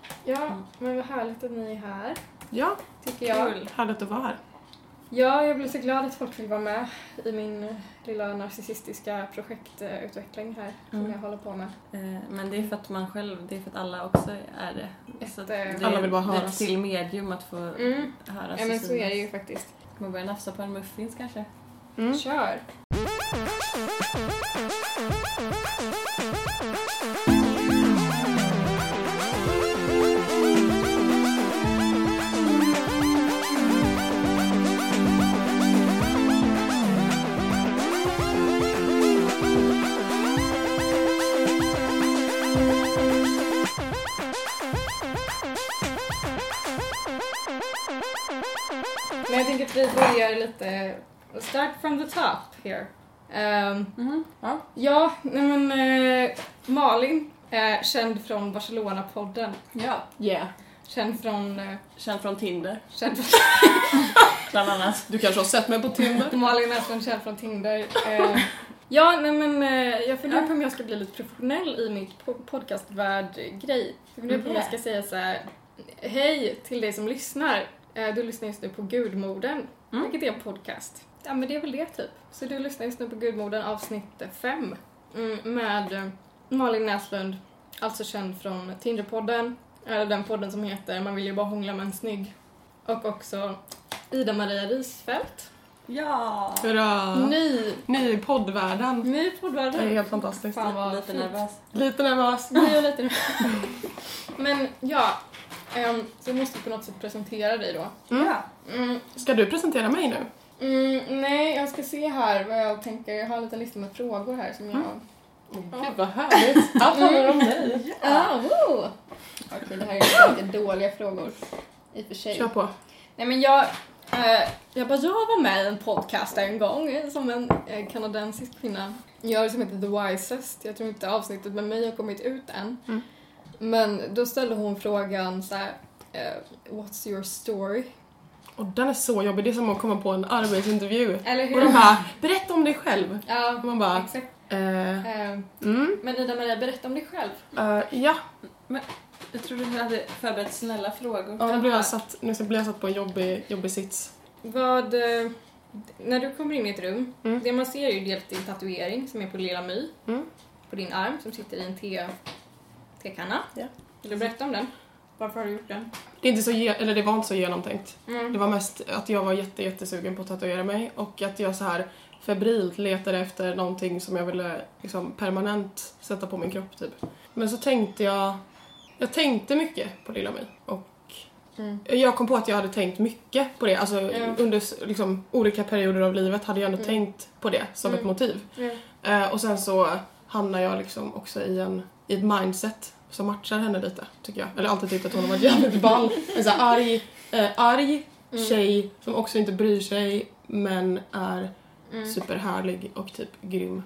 Mm. Ja, men vad härligt att ni är här, Ja, tycker jag. kul. Härligt att vara här. Ja, jag blir så glad att folk vill vara med i min lilla narcissistiska projektutveckling här Mm. som jag håller på med. Eh, Men det är för att man själv, det är för att alla också är det. Ett, att eh, det Alla är- vill bara det är ett höras. till medium att få Mm. höras. Ja, men och så är Alltså, synas. det ju faktiskt. Man börjar nafsa på en muffins kanske. Mm. Kör! Men jag tänker att vi börjar lite start from the top here. Ehm, Ja. ja, nej men eh, Malin, eh, känd från Barcelona-podden. ja. Yeah. Känd från... Eh, Känd från Tinder känd från bland annat. Du kanske har sett mig på Tinder? Malin är från känd från Tinder. Eh, ja, nej men eh, jag funderar på om jag ska bli lite professionell i mitt po- podcastvärd-grej. Jag funderar på om jag ska säga så här. Hej till dig som lyssnar. Eh, du lyssnar just nu på Gudmodern, Mm. vilket är en podcast. Ja men det är väl det typ. Så du lyssnar just nu på Gudmodern avsnitt 5 mm, med eh, Malin Näslund, alltså känd från Tinderpodden, eller den podden som heter Man vill ju bara hångla med en snygg. Och också Ida-Maria Risfält. Ja! Hurra! Ny, Ny i poddvärlden. ny Det är poddvärld. helt fantastiskt. Mm. Fan vad Lite fint. nervös. Lite nervös. Nu är jag lite nervös. Men ja, ehm, så jag måste på något sätt presentera dig då. Mm. Mm, Ska du presentera mig nu? mm, nej, jag ska se här vad jag tänker. Jag har en liten lista med frågor här som jag... Gud vad härligt. Mm. Allt handlar om dig. Ah, woo! Okej, det här är ganska dåliga frågor. I och för sig. Kör på. Nej men jag, eh, jag bara, jag var med i en podcast en gång eh, som en eh, kanadensisk kvinna gör som heter The Wisest. Jag tror inte avsnittet med mig har kommit ut än. Mm. Men då ställde hon frågan så här, eh, What's your story? Och den är så jobbig. Det är som att komma på en arbetsintervju. Eller Och hur? de bara, berätta om dig själv. Ja, Och man bara, exakt. eh, Eh, mm, men Ida-Maria, berätta om dig själv. eh, ja. Jag tror du hade förberett snälla frågor. ja nu, blir jag satt, nu blir jag satt på en jobbig, jobbig sits. Vad, eh, när du kommer in i ett rum, Mm. det man ser är ju dels din tatuering som är på Lilla My, Mm. på din arm som sitter i en te, tekanna. Ja. Vill du berätta om den? Varför har du gjort den? Det, är inte så ge- eller det var inte så genomtänkt. Mm. Det var mest att jag var jätte, jättesugen på att tatuera mig och att jag så här febrilt letade efter någonting som jag ville liksom permanent sätta på min kropp typ. Men så tänkte jag, jag tänkte mycket på Lilla mig och Mm. jag kom på att jag hade tänkt mycket på det. Alltså Ja. under liksom, olika perioder av livet hade jag ändå Mm. tänkt på det som ett Mm. motiv. Eh, och sen så hamnar jag liksom också i, en, i ett mindset som matchar henne lite, tycker jag. Eller alltid tyckt att hon har varit jävligt ball. En så här arg, eh, arg Mm. tjej som också inte bryr sig men är Mm. superhärlig och typ grym.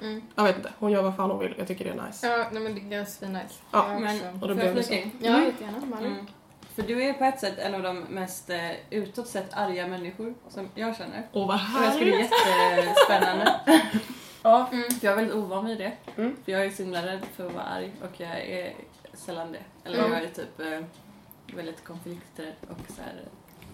Mm. Jag vet inte, hon gör vad fan hon vill. Jag tycker det är nice. Ja, nej men det är svinnice. Ja, Jag Men, också. Och då får blev jag det flika in? Ja, jättegärna. Malin. Mm. För du är på ett sätt en av de mest eh, utåt sett arga människor som jag känner. Åh vad Och jag skulle härligt! är jättespännande. Ja. Mm. För jag är väldigt ovan vid det. Mm. För jag är så himla rädd för att vara arg och jag är sällan det. Eller Mm. jag är typ eh, väldigt konflikträdd och så här,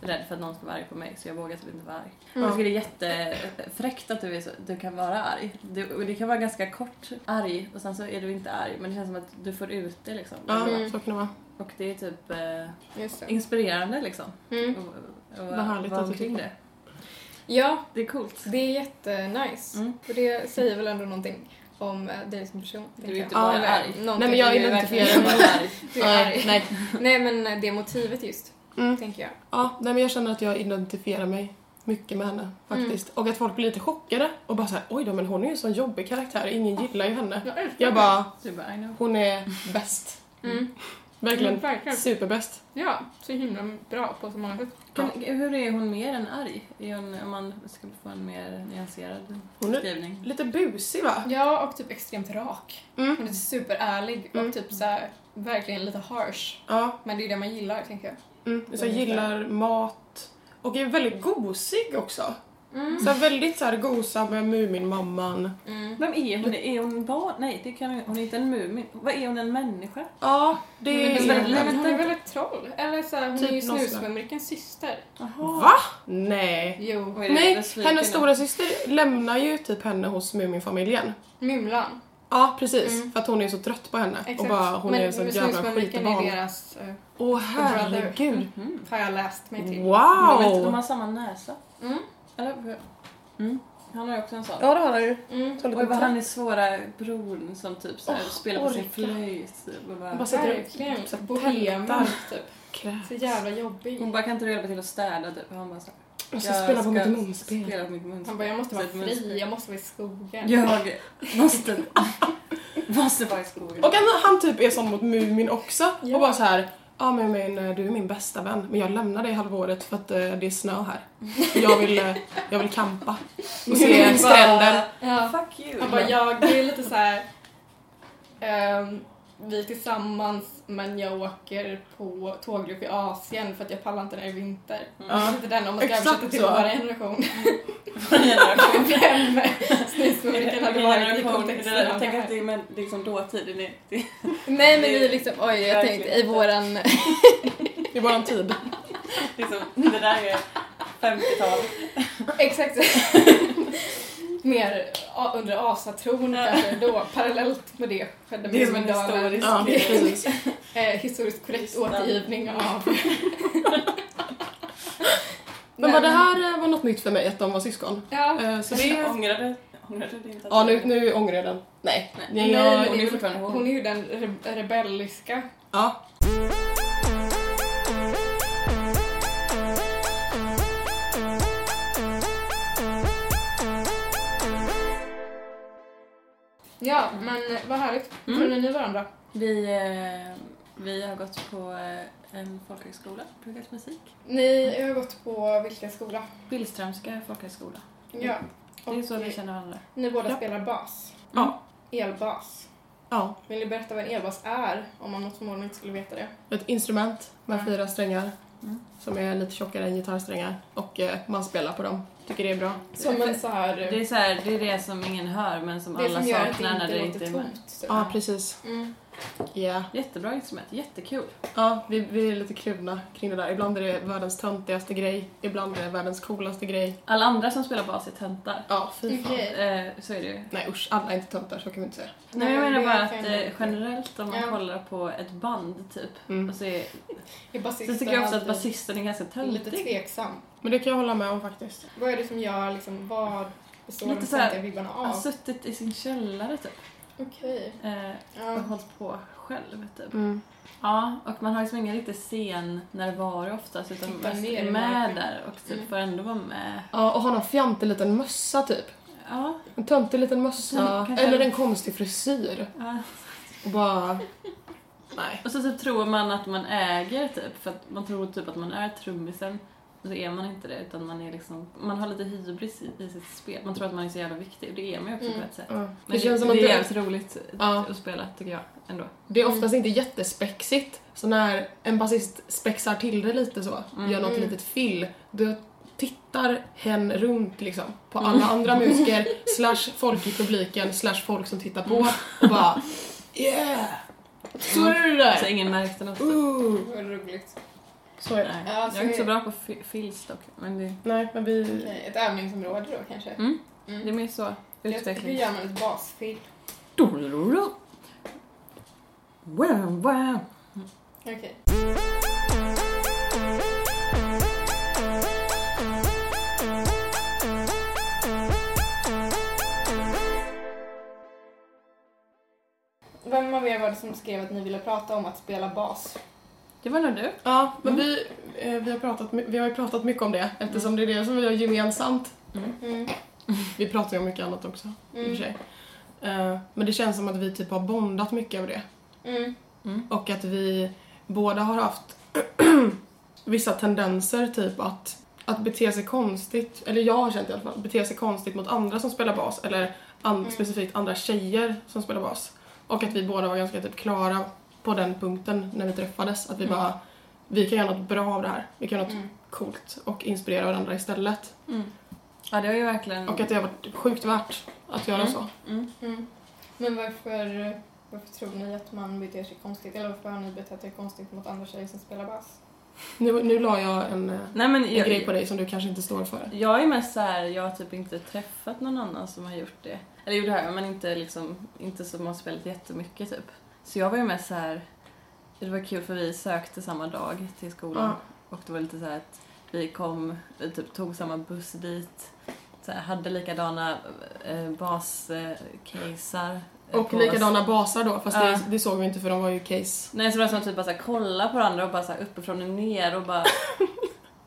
rädd för att någon ska vara arg på mig så jag vågar typ inte vara arg. Mm. Jag tycker det är jättefräckt att du, är så, du kan vara arg. Du, och det kan vara ganska kort arg och sen så är du inte arg men det känns som att du får ut det liksom. Ja, Mm. så kan det vara. Och det är typ eh, Just det. inspirerande liksom. Mm. Och, och, Vad härligt vara att du omkring det. Ja, Det är coolt. det är jättenice. Mm. Och det säger väl ändå någonting om eh, dig som person. Du är tänker jag. inte bara Eller arg. någonting. Nej, men jag Du är identifierar verkligen mig. bara arg. Du är arg. Nej. Nej men det motivet just, Mm. tänker jag. Ja, nej men jag känner att jag identifierar mig mycket med henne faktiskt. Mm. Och att folk blir lite chockade och bara såhär oj då men hon är ju en sån jobbig karaktär, ingen gillar ju henne. Jag bara, Du bara, I know. hon är bäst. Mm. Verkligen. Mm, verkligen. Superbäst. Ja, så himla bra på så många sätt. Men hur är hon mer än arg? Är hon, om man ska få en mer Mm. nyanserad Hon är beskrivning. lite busig va? Ja, och typ extremt rak. Mm. Hon är superärlig och Mm. typ så här, verkligen lite harsh. Ja. Men det är ju det man gillar, tänker jag. Mm. Så jag gillar mat och är väldigt gosig också. Mm. Så här väldigt så här gosam med Muminmamman. Mm. Vem är hon? Är hon barn? Nej, det kan hon, hon är inte en mumin. Vad är hon, en människa? Ja, Hon det är väldigt är... väl- liten. men hon är väl ett troll? Eller så här, hon Typ är ju något sånt. Snusmumrikens syster. Jaha. Va? Nej. Jo. Vad är det för Nej, svik hennes idag? stora syster lämnar ju typ henne hos Muminfamiljen. Mumlan. Ja, precis. Mm. för att hon är så trött på henne. Exakt. Och bara, hon men är en sån men jävla Snusmumriken är skitbarn. deras, eh, Åh herregud. Mhm. har jag läst mig till. De är inte- de Wow! har samma näsa. Mm. Eller? Mm. Han har ju också en sån. Ja, det har han ju. Mm. Så lite Och vad trött. han är svåra bron som typ så här, Åh, spelar på sin orka. flöjt. typ, Och Han bara, bara sitter och typ så Verkligen. här Bohemen, tältar. typ. Kräks. Så jävla jobbig. hon bara kan inte du hjälpa till att städa typ. Och han bara så här, Jag ska "Jag spela på mitt ska munspel. spela på mitt munspel. Han bara, jag måste vara Typ Så ett munspel. Typ fri, jag måste vara i skogen. Jag måste, måste vara i skogen. Och han, han typ är sån mot Mumin också. Ja. Och bara så här. Ja men Mumin, du är min bästa vän. Men jag lämnar dig halva året för att eh, det är snö här. Jag vill, eh, jag vill campa. Och se Mumin bara, stränder. Ja. Fuck you. Han bara, jag det är lite så här. ehm, vi är tillsammans men jag åker på tåggrupp i Asien för att jag pallar inte när det är vinter. Ja. Lite den om man ska Exakt översätta till så. vår generation. Generation. Vem snusmumriken hade varit i kontexten av Jag det tänker att här. det är men, liksom dåtid. Det är, det är, Nej men vi är liksom, oj jag tänkte i våran... I våran tid. liksom, det där är 50-tal. Exakt. Mer a- under asatron kanske då, parallellt med det skedde Det är som en Mumindalen. historisk Ja, precis. eh, historiskt korrekt Lyssna. återgivning av... Men bara, det här eh, var något nytt för mig att de var syskon. Ja, Eh, Så det... Ångrar du, ångrar du dig inte? att Ja du- nu, nu ångrar jag den. Nej. Nej. Nej, jag, Nej, Hon är nej. fortfarande ihåg. hon är ju den re- rebelliska. Ja. Ja, men vad härligt. Mm. Känner ni varandra? Vi, eh, vi har gått på eh, en folkhögskola, pluggat musik. Ni har gått på vilken skola? Billströmska folkhögskola. Ja. Mm. Det Mm. är så vi Och känner varandra. Ni båda Ja. spelar bas. Ja. Elbas. ja. Vill ni berätta vad en elbas är? Om man mot förmodan inte skulle veta det. Ett instrument med Mm. fyra strängar. Mm. Som är lite tjockare än gitarrsträngar. Och eh, man spelar på dem. Tycker det är bra. Som en så här... Det är, så här, det är det som ingen hör men som det alla som gör att saknar när det det inte inte låter är med. tomt. typ. Ja, precis. Mm. Ja. Jättebra instrument, jättekul. Ja, vi, vi är lite kluvna kring det där. Ibland är det världens töntigaste grej. Ibland är det världens coolaste grej. Alla andra som spelar bas är töntar. Ja, fy fan. Okej. Eh, så är det ju. Nej usch, alla är inte töntar, så kan vi inte säga. Nej, men jag menar det bara att kan eh, jag- generellt om man Ja. kollar på ett band typ. Mm. Och så, är, är så basisten tycker jag också att alltid basisten är ganska Lite töntig. tveksam. Men det kan jag hålla med om faktiskt. Vad är det som gör liksom, vad består Lite de så här- alltså- töntiga vibbarna av? Har suttit i sin källare typ. Okej. Eh, och Ja. hållit på själv typ. Ja, och man har liksom ingen riktig scennärvaro oftast utan man Titta ner är i med marken. där och typ Mm. får ändå vara med. Ja, och ha någon fjantig liten mössa typ. Ja, En töntig liten mössa. Kan- kanske- Eller en konstig frisyr. ja. Och bara... Nej. Och så typ tror man att man äger typ, för att man tror typ att man är trummisen. Och så är man inte det, utan man är liksom, man har lite hybris i, i sitt spel. Man tror att man är så jävla viktig, och det är man ju också Mm. på ett sätt. Ja. Men det, känns det, som att det är du- jävligt roligt Ja. att spela, tycker jag, ändå. Det är oftast inte jättespexigt. Så när en basist spexar till det lite så, Mm. gör något Mm. litet fill, då tittar hen runt liksom på Mm. alla andra musiker, slash folk i publiken, slash folk som tittar på och bara Yeah! Så är det Så där! ingen märkte något. typ. Ooh. Vad roligt. Så är det. Nej. Ja, så jag är inte så är- bra på fi- fills dock, men det, Nej, men vi... Okej, Ett övningsområde då kanske? Mm. Mm. det är mer så Jag- Hur utveckling. gör man ett basfil? Dororo. Wow, wow. Okej. Vem av er var det som skrev att ni ville prata om att spela bas? Det var nog du. Ja, men vi, eh, vi, har pratat, my- vi har ju pratat mycket om det eftersom det är det som vi har gemensamt. Mm. Vi pratar ju om mycket annat också, i och för sig. Eh, Men det känns som att vi typ har bondat mycket över det. Mm. Och att vi båda har haft vissa tendenser typ att, att bete sig konstigt, eller jag har känt i alla fall, bete sig konstigt mot andra som spelar bas eller an, Mm. specifikt andra tjejer som spelar bas. Och att vi båda var ganska typ klara på den punkten när vi träffades. Att vi Mm. bara, vi kan göra något bra av det här. Vi kan göra något Mm. coolt och inspirera varandra istället. Mm. Ja, det har ju verkligen... Och att det har varit sjukt värt att göra så. Mm. Mm. Men varför, varför tror ni att man beter sig konstigt? Eller varför har ni betett er konstigt mot andra tjejer som spelar bass? Nu, nu la jag en, eh, Nej, men en jag, grej på dig som du kanske inte står för. Jag är mest så här, jag har typ inte träffat någon annan som har gjort det. Eller jo, det har jag, men inte, liksom, inte som har spelat jättemycket typ. Så jag var ju mest så här, det var kul för vi sökte samma dag till skolan. Ja. Och det var lite så här att vi kom, vi typ tog samma buss dit. Så här, hade likadana eh, bascaser. Och likadana basar då, fast Ja. det, det såg vi inte för de var ju case. Nej, så var det som att typ bara så här, kolla på varandra och bara så här, uppifrån och ner och bara...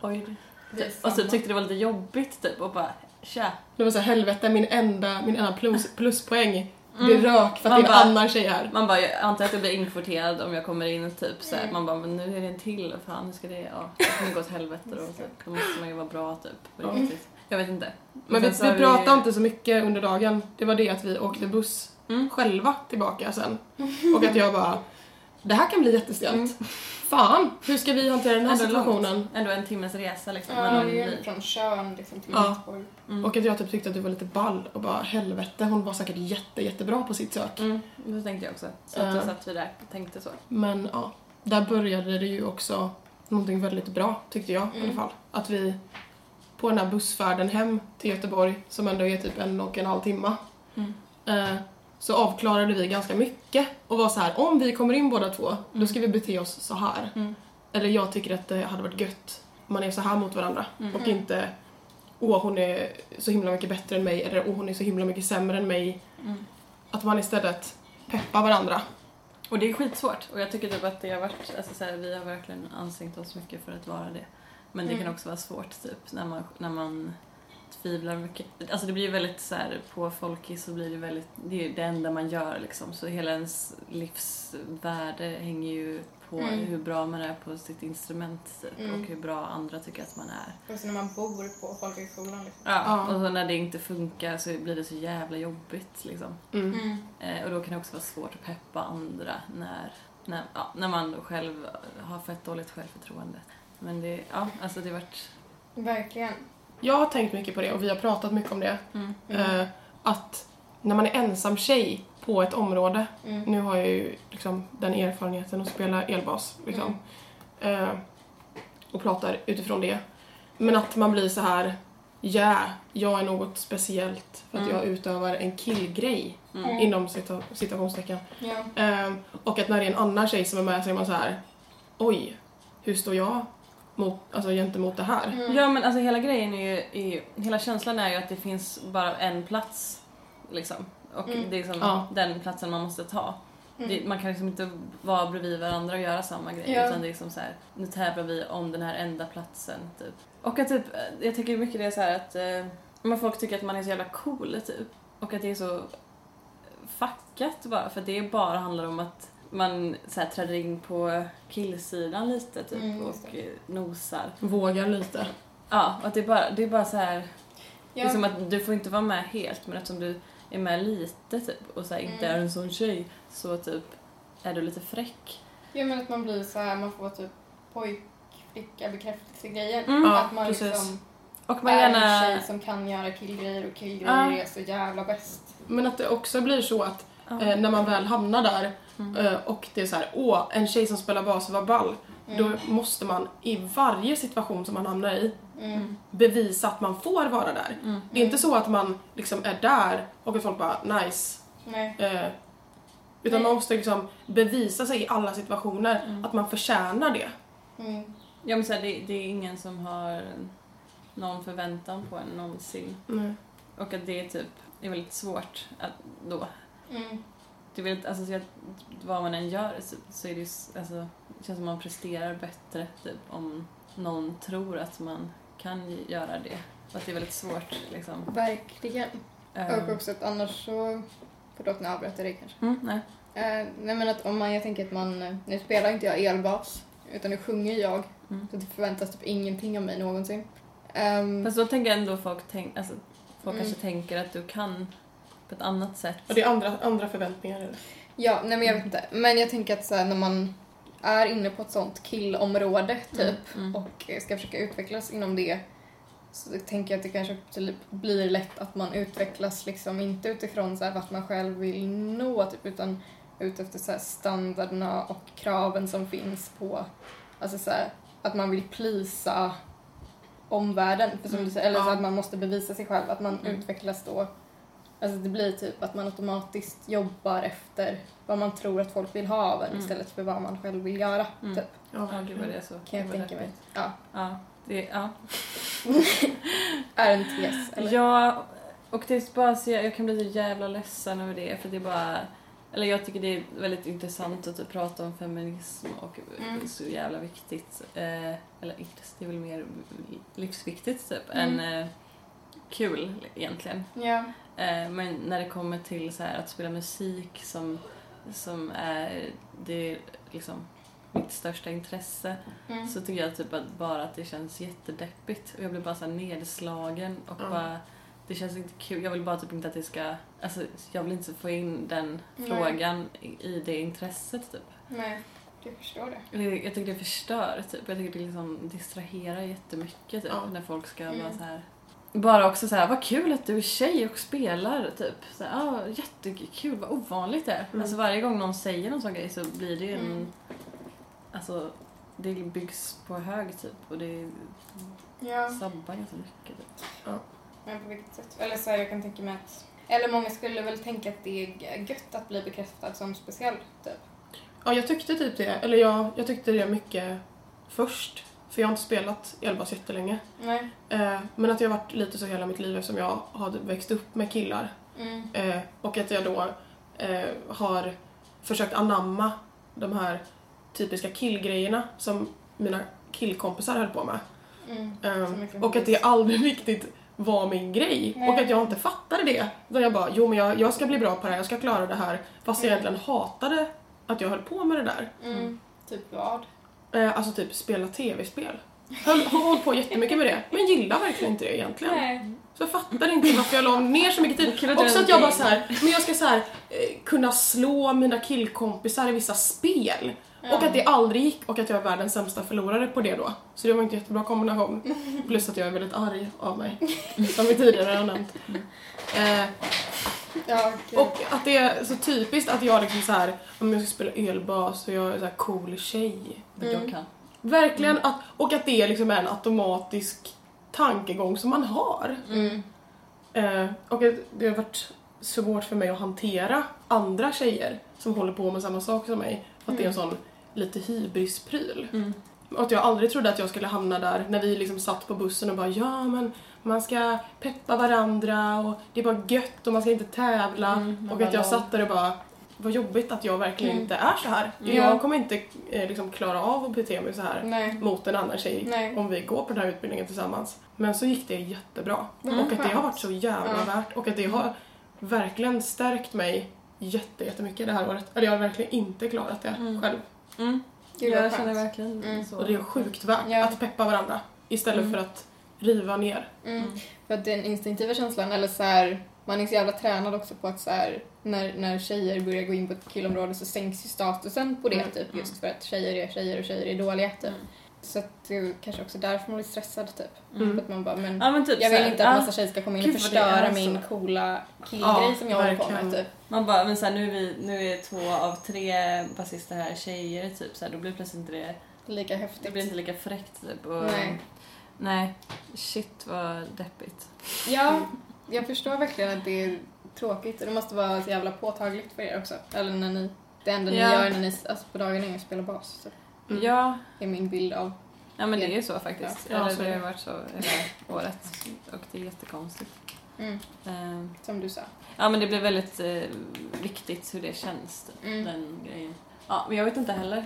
Oj. Och så Alltså, tyckte det var lite jobbigt typ och bara tja. Det var så här, helvete, min enda, min enda plus, pluspoäng, det Mm. rök för att Man det är en bara- annan tjej här. Man bara, jag antar att jag blir inkvoterad om jag kommer in typ så Mm. här. Man bara, men nu är det en till, fan hur ska det, ja, det kommer gå åt helvete då. Så, då måste man ju vara bra typ. på Mm. riktigt. Jag vet inte. Men vi, sen så har vi pratade inte så mycket under dagen. Det var det att vi åkte buss Mm. själva tillbaka sen. Och att jag bara, det här kan bli jättestelt. Mm. Mm. Fan, hur ska vi hantera den här Ändå långt. situationen? Ändå en timmes resa liksom. Ja, mellan det är ju vi. från Tjörn liksom till Ja. Göteborg. Mm. Och att jag typ tyckte att du var lite ball och bara helvete, hon var säkert jätte, jättebra på sitt sök. Mm, det tänkte jag också. Så att Ja. då satt vi där och tänkte så. Men ja, där började det ju också någonting väldigt bra tyckte jag Mm. i alla fall. Att vi på den här bussfärden hem till Göteborg, som ändå är typ en och en halv timma, Mm. eh, så avklarade vi ganska mycket och var så här, om vi kommer in båda två, då ska vi bete oss så här. Mm. Eller jag tycker att det hade varit gött om man är så här mot varandra Mm. och inte åh hon är så himla mycket bättre än mig eller åh hon är så himla mycket sämre än mig. Mm. Att man istället peppar varandra. Och det är skitsvårt och jag tycker typ att det har varit, alltså så här, vi har verkligen ansträngt oss mycket för att vara det. Men det Mm. kan också vara svårt typ när man, när man tvivlar mycket. Alltså det blir ju väldigt så här på folkis så blir det väldigt, det är ju det enda man gör liksom. Så hela ens livsvärde hänger ju på Mm. hur bra man är på sitt instrument typ, Mm. och hur bra andra tycker att man är. Och så Alltså, när man bor på folkhögskolan liksom. Ja. Ja. Och så när det inte funkar så blir det så jävla jobbigt liksom. Mm. Eh, och då kan det också vara svårt att peppa andra när, när, ja, när man själv har fett dåligt självförtroende. Men det, ja, alltså det vart... Verkligen. Jag har tänkt mycket på det och vi har pratat mycket om det. Mm. Mm. Eh, att när man är ensam tjej på ett område, Mm. nu har jag ju liksom den erfarenheten att spela elbas liksom, eh, och pratar utifrån det. Men att man blir så här, ja, jag är något speciellt för att Mm. jag utövar en killgrej Mm. inom cita- citationstecken. Ja. Eh, och att när det är en annan tjej som är med så är man så här, oj, hur står jag mot, alltså, gentemot det här? Mm. Ja men alltså hela grejen är ju, är ju, hela känslan är ju att det finns bara en plats liksom. Och Mm. det är liksom Ja. den platsen man måste ta. Det, man kan liksom inte vara bredvid varandra och göra samma grej Ja. utan det är liksom så här, nu tävlar vi om den här enda platsen typ. Och att typ, eh, jag tycker mycket det är så här att eh, men folk tycker att man är så jävla cool typ. Och att det är så fackat bara för att det bara handlar om att man så här, träder in på killsidan lite typ Mm, just och eh, nosar. Vågar lite. Ja, och att det är bara, det är bara så här Ja. det är som att du får inte vara med helt men eftersom du är med lite typ och så här, inte Mm. är en sån tjej så typ är du lite fräck. ja men att man blir så här, man får typ pojkflicka bekräftelsegrejer. Mm. Ja, att man precis. liksom Och man är gärna... en tjej som kan göra killgrejer och killgrejer Ja. är så jävla bäst. Men att det också blir så att Ja. eh, när man väl hamnar där Mm. eh, och det är så här, åh, en tjej som spelar bas var ball. Mm. Då måste man i varje situation som man hamnar i Mm. bevisa att man får vara där. Mm. Det är inte så att man liksom är där och att folk bara nice. Nej. Eh, utan Nej. man måste liksom bevisa sig i alla situationer Mm. att man förtjänar det. Mm. Ja men så här, det, det är ingen som har någon förväntan på en någonsin. Mm. Och att det är typ, det är väldigt svårt att då. Mm. Det är väldigt, alltså så jag, vad man än gör så, så är det ju, s- alltså, det känns som man presterar bättre typ om någon tror att man kan göra det. Och att det är väldigt svårt liksom. Verkligen. Eh, Och också att annars så... Förlåt, nu avbröt jag dig kanske. Mm, nej. Eh, nej men att om man, jag tänker att man, eh, nu spelar inte jag elbas, utan nu sjunger jag. Mm. Så det förväntas typ ingenting av mig någonsin. Mm. Ehm, Fast då tänker jag ändå folk, tänk, alltså, folk Mm. kanske tänker att du kan på ett annat sätt. Och det är andra, andra förväntningar. eller? ja, nej men jag vet inte. Men jag tänker att så här, när man är inne på ett sånt killområde typ Mm. och eh, ska försöka utvecklas inom det så tänker jag att det kanske typ blir lätt att man utvecklas liksom inte utifrån så här vart man själv vill nå typ, utan ut efter så här standarderna och kraven som finns på alltså så här, att man vill plisa omvärlden. För som du säger, eller så Ja. att man måste bevisa sig själv, att man Mm. utvecklas då. Alltså det blir typ att man automatiskt jobbar efter vad man tror att folk vill ha av en Mm. istället för vad man själv vill göra. Mm. Typ, Ja, Ja, gud vad Mm. det är så. kan jag vad det tänka mig. är. Ja, Ja, det, ja. är en tes. Eller? ja, och det är bara så jag, jag kan bli så jävla ledsen över det för det är bara eller jag tycker det är väldigt intressant att typ prata om feminism och Mm. så jävla viktigt. Eh, eller intressant, det är väl mer livsviktigt typ Mm. än eh, kul egentligen. Ja. Eh, men när det kommer till så här att spela musik som, som är, det är liksom mitt största intresse Mm. så tycker jag typ att bara att det känns jättedeppigt och jag blir bara så här nedslagen och Ja. bara det känns inte kul. Jag vill bara typ inte att det ska, alltså jag vill inte få in den Nej. frågan i- i det intresset typ. Nej, jag förstår det. Eller Eh, Jag tycker det förstör typ. Jag tycker det liksom distraherar jättemycket typ Ja. när folk ska Mm. vara så här. Bara också så här, vad kul att du är tjej och spelar typ. Så här, ah, jättekul, vad ovanligt det är. Mm. Alltså varje gång någon säger någon sån grej så blir det ju en, Mm. alltså det byggs på hög typ och det Ja. sabbar ganska mycket typ. Men på vilket sätt? Eller så här, jag kan tänka mig att... Eller många skulle väl tänka att det är gött att bli bekräftad som speciell, typ. Ja, jag tyckte typ det. Eller jag, jag tyckte det mycket först. För jag har inte spelat elbas jättelänge. Nej. Eh, men att jag har varit lite så hela mitt liv eftersom jag har växt upp med killar. Mm. Eh, och att jag då eh, har försökt anamma de här typiska killgrejerna som mina killkompisar höll på med. Mm. Eh, Så mycket och att det aldrig riktigt var min grej. Nej. Och att jag inte fattade det. Utan jag bara, jo men jag, jag ska bli bra på det här, jag ska klara det här. Fast jag Mm. egentligen hatade att jag höll på med det där. Mm. Typ vad? Eh, alltså typ spela tv-spel. Höll, har hållit på jättemycket med det, men gillar verkligen inte det egentligen. Nej. Så jag fattar inte varför jag la ner så mycket tid. Killar Också dör att jag inte. bara så här, men jag ska så här, eh, kunna slå mina killkompisar i vissa spel. Och att det aldrig gick och att jag är världens sämsta förlorare på det då. Så det var inte en jättebra kombination. Plus att jag är väldigt arg av mig. Som vi tidigare har nämnt. Eh, Ja, gud. och att det är så typiskt att jag liksom så här, om jag ska spela ölbas och jag är så här cool tjej. Men Mm. jag kan. Verkligen att, och att det är liksom en automatisk tankegång som man har. Mm. Eh, och att det har varit svårt för mig att hantera andra tjejer som håller på med samma sak som mig. För att det är en Mm. sån lite hybrispryl. Mm. Och att jag aldrig trodde att jag skulle hamna där när vi liksom satt på bussen och bara ja men man ska peppa varandra och det är bara gött och man ska inte tävla. Mm, man och bara att jag lol. satt där och bara vad jobbigt att jag verkligen Mm. inte är så här. Mm. Ja. Jag kommer inte eh, liksom klara av att bete mig så här Nej. mot en annan tjej Nej. om vi går på den här utbildningen tillsammans. Men så gick det jättebra. Mm, och att det har skönt. varit så jävla Ja. värt och att det har verkligen stärkt mig jätte, jättemycket det här året. Eller jag har verkligen inte klarat det Mm. själv. Mm. Gud, vad Jag känner skönt. verkligen Mm. så. Och det är sjukt värt Ja. att peppa varandra istället Mm. för att riva ner. Mm. För att den instinktiva känslan, eller så här, man är så jävla tränad också på att så här, när, när tjejer börjar gå in på ett killområde så sänks ju statusen på det Mm, typ mm. just för att tjejer är tjejer och tjejer är dåliga typ. Mm. Så att det är kanske också därför man blir stressad typ. Mm. För att man bara, men Ja men typ jag så vill här, inte att ah. massa tjejer ska komma in och Gud, vad det är förstöra så. min coola killgrej Ja, som jag håller på med verkligen. typ. Man bara, men så här, nu, är vi, nu är två av tre basister här tjejer typ så här, då blir plötsligt inte det, Lika det häftigt. blir inte lika fräckt typ. Och, Nej. nej. Shit vad deppigt. Ja, jag förstår verkligen att det är tråkigt och det måste vara så jävla påtagligt för er också. Eller när ni, det enda ni Ja. gör när ni, alltså på dagen är att spela bas. typ. Mm. Ja, Det är min bild av ja men det är ju så faktiskt. Ja, Eller, så är det har det. varit så hela året och det är jättekonstigt. Mm, Eh, som du sa. ja men det blir väldigt eh, viktigt hur det känns typ. Mm. den grejen. Ja, men jag vet inte heller.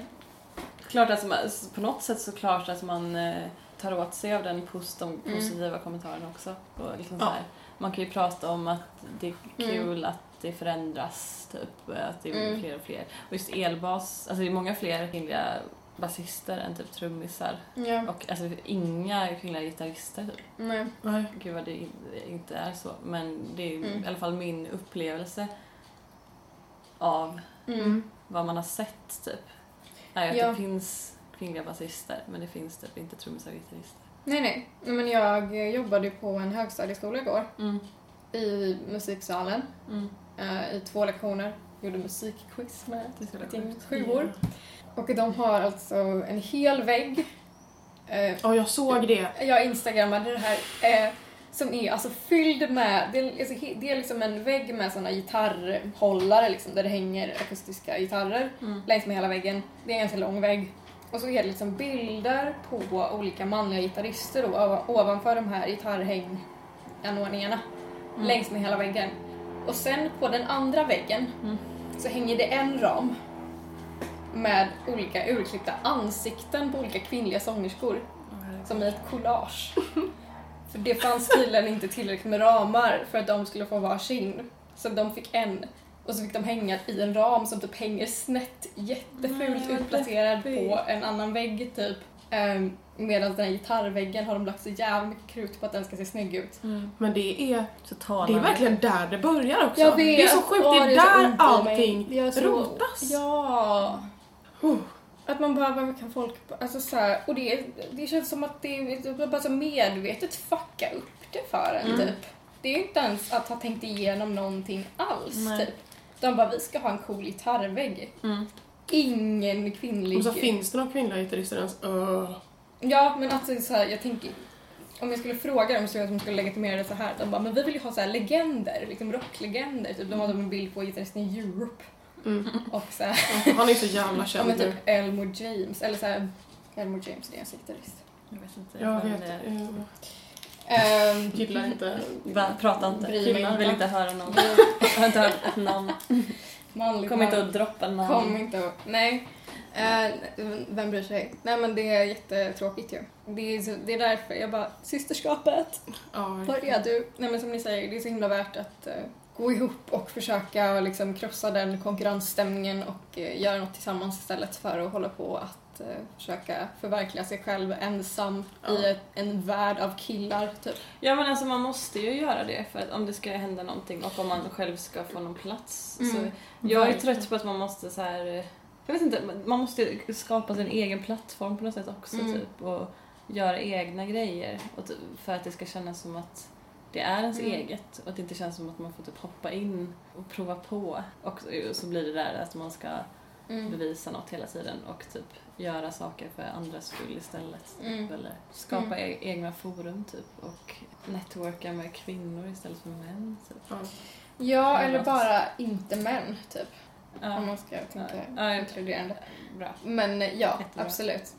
Klart att man, på något sätt så klart att man eh, tar åt sig av den pos, de Mm. positiva kommentarerna också. Och liksom Ja. så här, man kan ju prata om att det är Mm. kul att det förändras, typ, att det är Mm. fler och fler. Och just elbas, alltså det är många fler kvinnliga basister än typ trummisar. Ja, Och alltså inga kvinnliga gitarrister typ. nej. Mm. Nej. Gud vad det in- inte är så. Men det är ju Mm. i alla fall min upplevelse av Mm. vad man har sett typ. Är ju att Ja. det finns kvinnliga basister men det finns typ inte trummisar och gitarrister. Nej, nej. Nej, Men jag jobbade ju på en högstadieskola igår. Mm. I musiksalen. Mm. eh, I två lektioner. Gjorde musikquiz med Det skulle ett gäng sjuor. Och de har alltså en hel vägg. eh, Ja, jag såg det. Jag instagrammade det här. Eh, som är alltså fylld med, det är, alltså, he- det är liksom en vägg med såna gitarrhållare liksom, där det hänger akustiska gitarrer Mm. längs med hela väggen. Det är en ganska lång vägg. Och så är det liksom bilder på olika manliga gitarrister då, ova- ovanför de här gitarrhänganordningarna Mm. längs med hela väggen. Och sen på den andra väggen Mm. så hänger det en ram med olika urklippta ansikten på olika kvinnliga sångerskor som i ett collage. För det fanns tydligen inte tillräckligt med ramar för att de skulle få varsin. Så de fick en och så fick de hänga i en ram som typ hänger snett, jättefult Nej, vad utplacerad deppigt. på en annan vägg typ. Ehm, medan den här gitarrväggen har de lagt så jävla mycket krut på att den ska se snygg ut. Mm. Men det är, Så det är talande. verkligen där det börjar också. Jag Det är så vet. sjukt, Åh, det är så där ont i allting mig. Jag är så- rotas. Ja! Oh. Att man bara, varför kan folk... Alltså så här, och det, det känns som att det är bara så medvetet fucka upp det för en Mm. typ. Det är ju inte ens att ha tänkt igenom någonting alls Nej. typ. De bara, vi ska ha en cool gitarrvägg. Mm. Ingen kvinnlig... Och så finns det några kvinnliga gitarrister ens. Öh. Ja, men alltså så här, jag tänker... Om jag skulle fråga dem så jag som skulle legitimera det så här. De bara, men vi vill ju ha så här legender, liksom rocklegender. Typ, de har typ en bild på gitarristen i Europe Mm. och så här. Han är så jävla Ja känd men typ nu. Elmore James, eller såhär, Elmore James det är en gitarrist. Jag vet inte. Jag men, vet. eh, eh, Ehm, Gillar inte. Va, prata inte. Bryr mig Jag vill inte. inte höra någon. Jag har inte hört ett namn. manlig Kom man. inte att droppa namn. Kom inte och, nej. Eh, vem bryr sig? Nej men det är jättetråkigt ju. Det är, så, det är därför jag bara, systerskapet, Ja. var är du? Nej men som ni säger, det är så himla värt att eh, gå ihop och försöka liksom krossa den konkurrensstämningen och eh, göra något tillsammans istället för att hålla på att eh, försöka förverkliga sig själv ensam Ja. i ett, en värld av killar typ. Ja men alltså man måste ju göra det för att om det ska hända någonting och om man själv ska få någon plats. Mm. Så jag är Verkligen. trött på att man måste så här. eh, Jag vet inte, man måste skapa sin egen plattform på något sätt också Mm. typ och göra egna grejer och typ, för att det ska kännas som att det är ens Mm. eget och att det inte känns som att man får typ hoppa in och prova på och så- så blir det där att man ska Mm. bevisa något hela tiden och typ göra saker för andras skull istället. typ. Mm. Eller skapa e- egna forum typ och networka med kvinnor istället för män. Typ. Ja. Ja, Eller eller något. bara inte män, typ. Om Ja, man ska tänka Ja, ja. inkluderande. bra. Men eh, ja, Jättebra. absolut.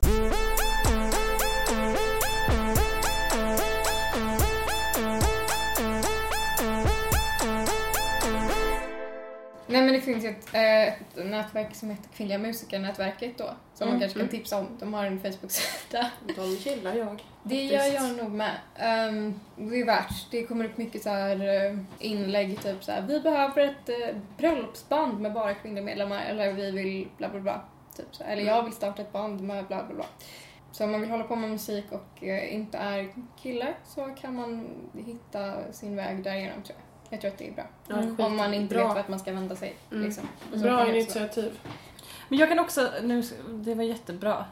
Nej men det finns ju ett, eh, ett nätverk som heter Kvinnliga musiker-nätverket då. Som man Mm. kanske kan Mm. tipsa om. De har en Facebook-sida. De gillar jag. Det Faktiskt. gör jag nog med. Ehm, det är värt. Det kommer upp mycket så här eh, inlägg, typ så här, vi behöver ett eh, bröllopsband med bara kvinnliga medlemmar, eller vi vill bla bla bla. Typ så här, eller jag vill starta ett band med bla bla bla. Så om man vill hålla på med musik och eh, inte är kille så kan man hitta sin väg därigenom tror jag. Jag tror att det är bra. Ja, Mm. Om man inte Bra. vet vart man ska vända sig. Mm. Liksom. Och så kan Bra man också- initiativ. Men jag kan också, nu, ska- det var jättebra.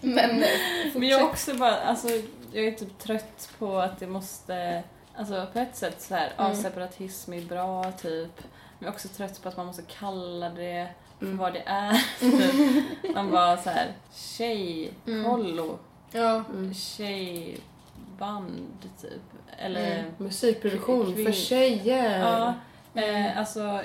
Men eh, Men jag är fortsätt. också bara, alltså jag är typ trött på att det måste, alltså på ett sätt så här, Mm. ja, separatism är bra typ. Men jag är också trött på att man måste kalla det för Mm. vad det är. Typ. Man bara så här, tjej, Mm. kollo. Ja. Mm. tjejband typ. Eller... Mm. Musikproduktion för Kvinn- tjejer. Ja. Mm. Eh, alltså,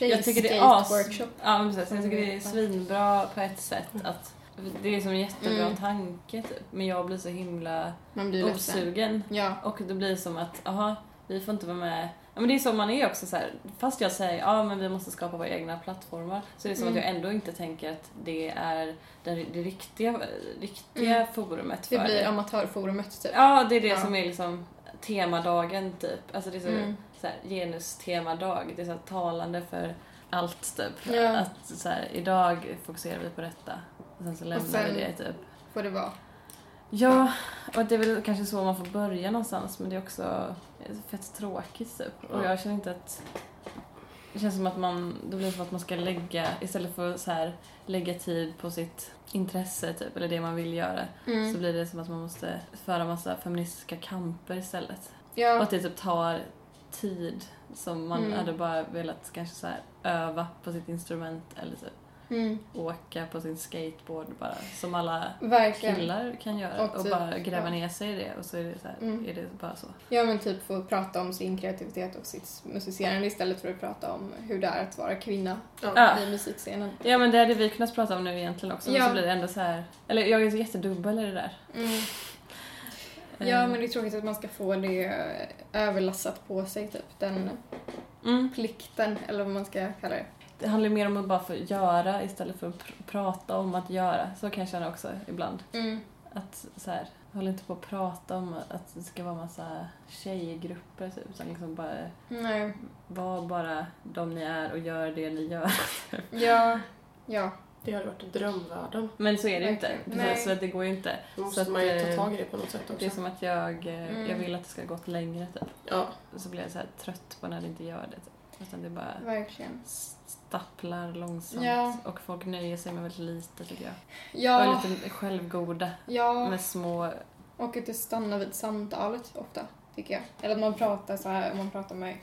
jag tycker det är as... Tjejskate-workshop. Ja, men precis. Jag tycker det är Mm. svinbra på ett sätt att det är som en jättebra Mm. tanke typ. Men jag blir så himla Man blir ledsen. osugen. Ja. Och det blir som att, aha, vi får inte vara med. Ja, men det är så man är också så här. Fast jag säger, ja men vi måste skapa våra egna plattformar. Så är det som Mm. att jag ändå inte tänker att det är den- det riktiga, riktiga Mm. forumet för Det blir amatörforumet typ. Ja, det är det Ja. som är liksom temadagen typ. Alltså det är så, Mm. så här, genustemadag. Det är så här, talande för allt typ. Ja. Att så här, idag fokuserar vi på detta. Och sen så lämnar sen- vi det typ. Får det vara. Ja, och det är väl kanske så man får börja någonstans men det är också fett tråkigt typ. Och Ja. jag känner inte att Det känns som att man, då blir det som att man ska lägga, istället för att så här, lägga tid på sitt intresse typ, eller det man vill göra, Mm. så blir det som att man måste föra massa feministiska kamper istället. Och Ja, att det typ tar tid som man Mm. hade bara velat kanske så här, öva på sitt instrument eller typ mm. åka på sin skateboard bara, som alla verkligen. killar kan göra Och och, typ, bara gräva ja. ner sig i det och så är det, så här, Mm. är det bara så. Ja, men typ få prata om sin kreativitet och sitt musicerande istället för att prata om hur det är att vara kvinna Ja. i musikscenen. Ja men det hade vi kunnat prata om nu egentligen också men Ja. så blir det ändå så här. Eller jag är så jättedubbel i det där. Eh, Mm. Ja, Ehm. men det är tråkigt att man ska få det eh, överlassat på sig, typ. Den mm. plikten, eller vad man ska kalla det. Det handlar ju mer om att bara få göra istället för att pr- prata om att göra. Så kan jag känna också ibland. Mm. Att så här, håll inte på att prata om att det ska vara massa tjejgrupper typ. Utan liksom bara, Nej. var bara de ni är och gör det ni gör. Ja. Ja. Det hade varit drömvärlden. Men så är det ju inte. Nej. Så att det går ju inte. Då Så måste att, man ju ta eh, tag i det på något sätt Det är också. som att jag, eh, Mm. jag vill att det ska gått längre typ. Ja. Och så blir jag så här trött på när det inte gör det. Typ. Utan det är bara Verkligen. stapplar långsamt Ja. och folk nöjer sig med väldigt lite tycker jag. Ja. Och är lite självgoda Ja. med små... Och att det stannar vid samtalet ofta, tycker jag. Eller att man pratar så här, man pratar med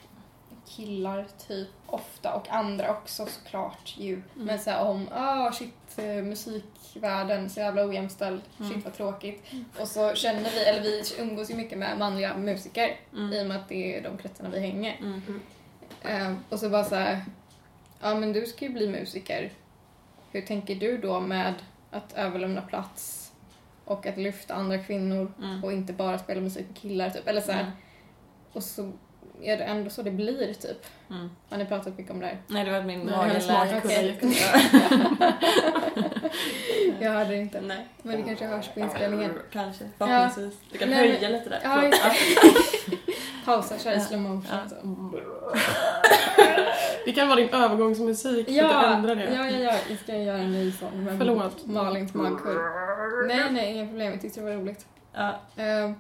killar typ ofta och andra också såklart ju. Mm. Men så här om, ah shit eh, musikvärlden så jävla ojämställd, Mm. shit vad tråkigt. Och så känner vi, eller vi umgås ju mycket med manliga musiker Mm. i och med att det är de kretsarna vi hänger. Mm. Eh, och så bara så här, ja men du ska ju bli musiker. Hur tänker du då med att överlämna plats och att lyfta andra kvinnor Mm. och inte bara spela musik med killar typ. Eller så här. Mm. Och så är det ändå så det blir typ. Mm. Har ni pratat mycket om det här? Nej, det var min Nej, hennes mage mage kunde Okej. jag kunde- Jag hörde det inte. Nej. Men det kanske hörs på inspelningen. Kanske, förhoppningsvis. Du kan Nej, höja lite där. Ja, just det. Pausa, kör i slow motion. alltså. Ja. Så. Det kan vara din övergångsmusik, ja. Ja, inte ändra ja, det. ja, ja, jag ska göra en ny sån. med Förlåt. Malins magkurv. Nej, nej, inga problem. Jag tyckte det var roligt. Ja. Eh,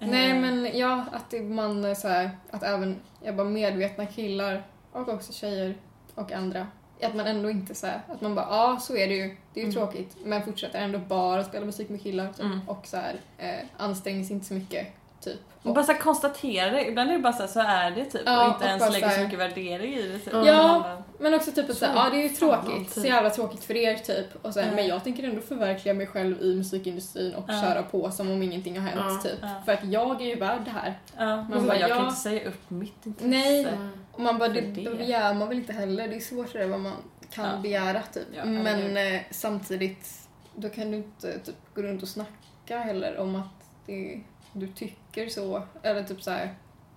nej, men ja, att det- man eh, så här, att även jag bara medvetna killar och också tjejer och andra, att man ändå inte så här, att man bara ja, så är det ju, det är ju Mm. tråkigt, men fortsätter ändå bara spela musik med killar typ. Mm. och så här, eh, anstränger sig inte så mycket, typ. Och Och, bara så här konstatera det. Ibland är det bara så här, så är det typ. Ja, och inte och ens bara lägga så så här- mycket värdering i det. Typ. Ja. men också typ att så här, Så ja, det är ju fan tråkigt, så alltid. jävla tråkigt för er typ, och så här, Ja. men jag tänker ändå förverkliga mig själv i musikindustrin och Ja. köra på som om ingenting har hänt Ja. typ. Ja. För att jag är ju värd det här. Ja. Man Man bara, bara, jag kan ja. inte säga upp mitt intresse. Nej. Mm. Och man bara, det, För det. då begär man väl inte heller. Det är svårt det där vad man kan Ja. begära typ. Ja, Men eh, samtidigt, då kan du inte typ, gå runt och snacka heller om att det, du tycker så. Eller typ så här,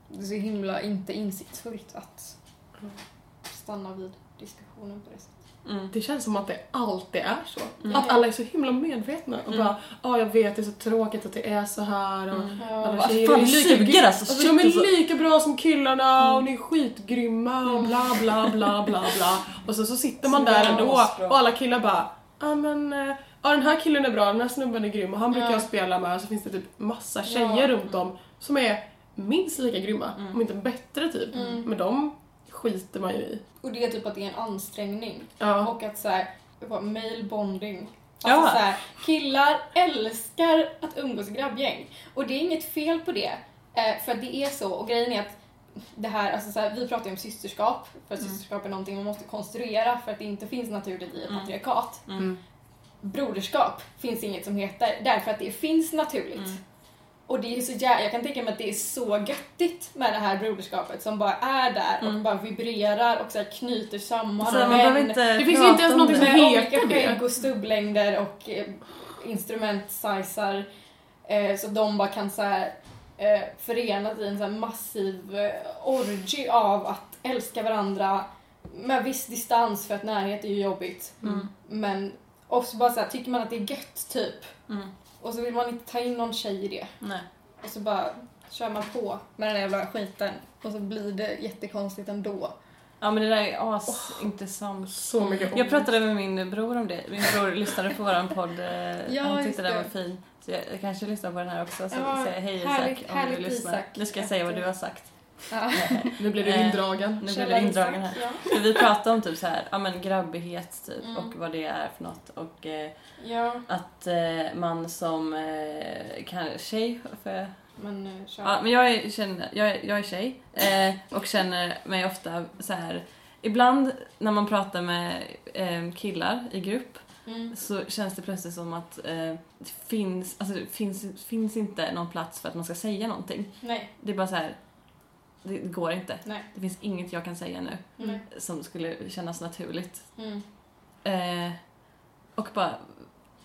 det är så himla inte insiktsfullt att stanna vid diskussionen på det sättet. Mm. Det känns som att det alltid är så. Mm. Att alla är så himla medvetna och Mm. bara ja jag vet det är så tråkigt att det är så här och Mm. alla Vad tjejer fan, är det lika- suger alltså, alltså, shit, De är alltså." lika bra som killarna och ni är skitgrymma och bla bla bla bla bla. Och så, så sitter man Så där jävla ändå asbra. och alla killar bara ja men eh, ja den här killen är bra, den här snubben är grym och han brukar Ja. jag spela med. Så finns det typ massa tjejer runt om som är minst lika grymma, om inte bättre typ. Mm. Men de skiter man ju i. Och det är typ att det är en ansträngning. Ja. Och att så här, vad, male bonding. Ja. Alltså så här, killar älskar att umgås i grabbgäng. Och det är inget fel på det. eh, För det är så. Och grejen är att det här, alltså så här, vi pratar ju om systerskap. För Mm. att systerskap är någonting man måste konstruera för att det inte finns naturligt i ett patriarkat. Mm. Broderskap finns inget som heter därför att det finns naturligt. Mm. Och det är så jä- jag kan tänka mig att det är så göttigt med det här broderskapet som bara är där och bara vibrerar och så här knyter samman Mm. Så man män. behöver inte Det finns prata inte ens om någonting det. som Med olika heter det. skägg och stubblängder och eh, instrumentsizar. Eh, så de bara kan så här, eh, förenas i en så här massiv eh, orgy av att älska varandra med viss distans för att närhet är ju jobbigt. Mm. Men och så bara så här, tycker man att det är gött typ. Mm. Och så vill man inte ta in någon tjej i det. Nej. Och så bara kör man på med den här jävla skiten. Och så blir det jättekonstigt ändå. Ja men det där är asintressant. Så mycket Jag pratade med min bror om det. Min bror lyssnade på våran podd. eh, Ja, han just tyckte den det. var fin. Så jag, jag kanske lyssnar på den här också. Så Ja, säger hej härligt- Isak om härligt, du lyssnar. Isak. Nu ska jag säga vad du har sagt. Ja. Nu blir du Eh, indragen. Nu blir Källa det indragen här. insatt, Ja. För vi pratar om typ så här, ja men grabbighet typ Mm. och vad det är för något och eh, ja, att eh, man som eh, kan, tjej, får jag men eh, kör. Ja, men jag är, känner, jag är, jag är tjej eh, och känner mig ofta så här. Ibland när man pratar med eh, killar i grupp Mm. så känns det plötsligt som att eh, det, finns, alltså, det finns, finns inte någon plats för att man ska säga någonting. Nej, Det är bara så här. Det går inte. nej, Det finns inget jag kan säga nu nej. som skulle kännas naturligt. Mm. Eh, och bara,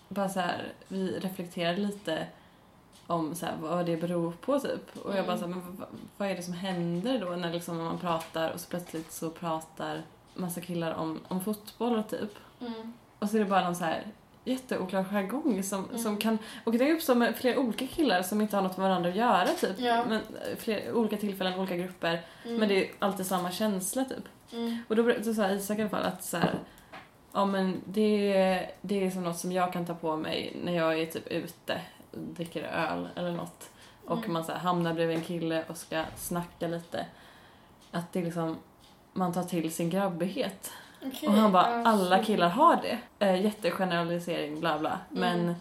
bara så här, vi reflekterade lite om så här, vad det beror på typ. Och jag bara så här, men vad, vad är det som händer då när liksom man pratar och så plötsligt så pratar massa killar om, om fotboll typ. Mm. Och så är det bara någon så här jätteoklar jargong som, Mm. som kan... Och det är uppstår med flera olika killar som inte har något med varandra att göra typ. Ja. Men eh, flera, olika tillfällen, olika grupper. Mm. Men det är alltid samma känsla typ. Mm. Och då berättade så här, Isak i alla fall att så här, ja men det, det är som något som jag kan ta på mig när jag är typ ute och dricker öl eller något. Och Mm. man så här, hamnar bredvid en kille och ska snacka lite. Att det är liksom, man tar till sin grabbighet. Okej, och han bara, alltså. alla killar har det. Eh, jättegeneralisering bla bla. Men Mm.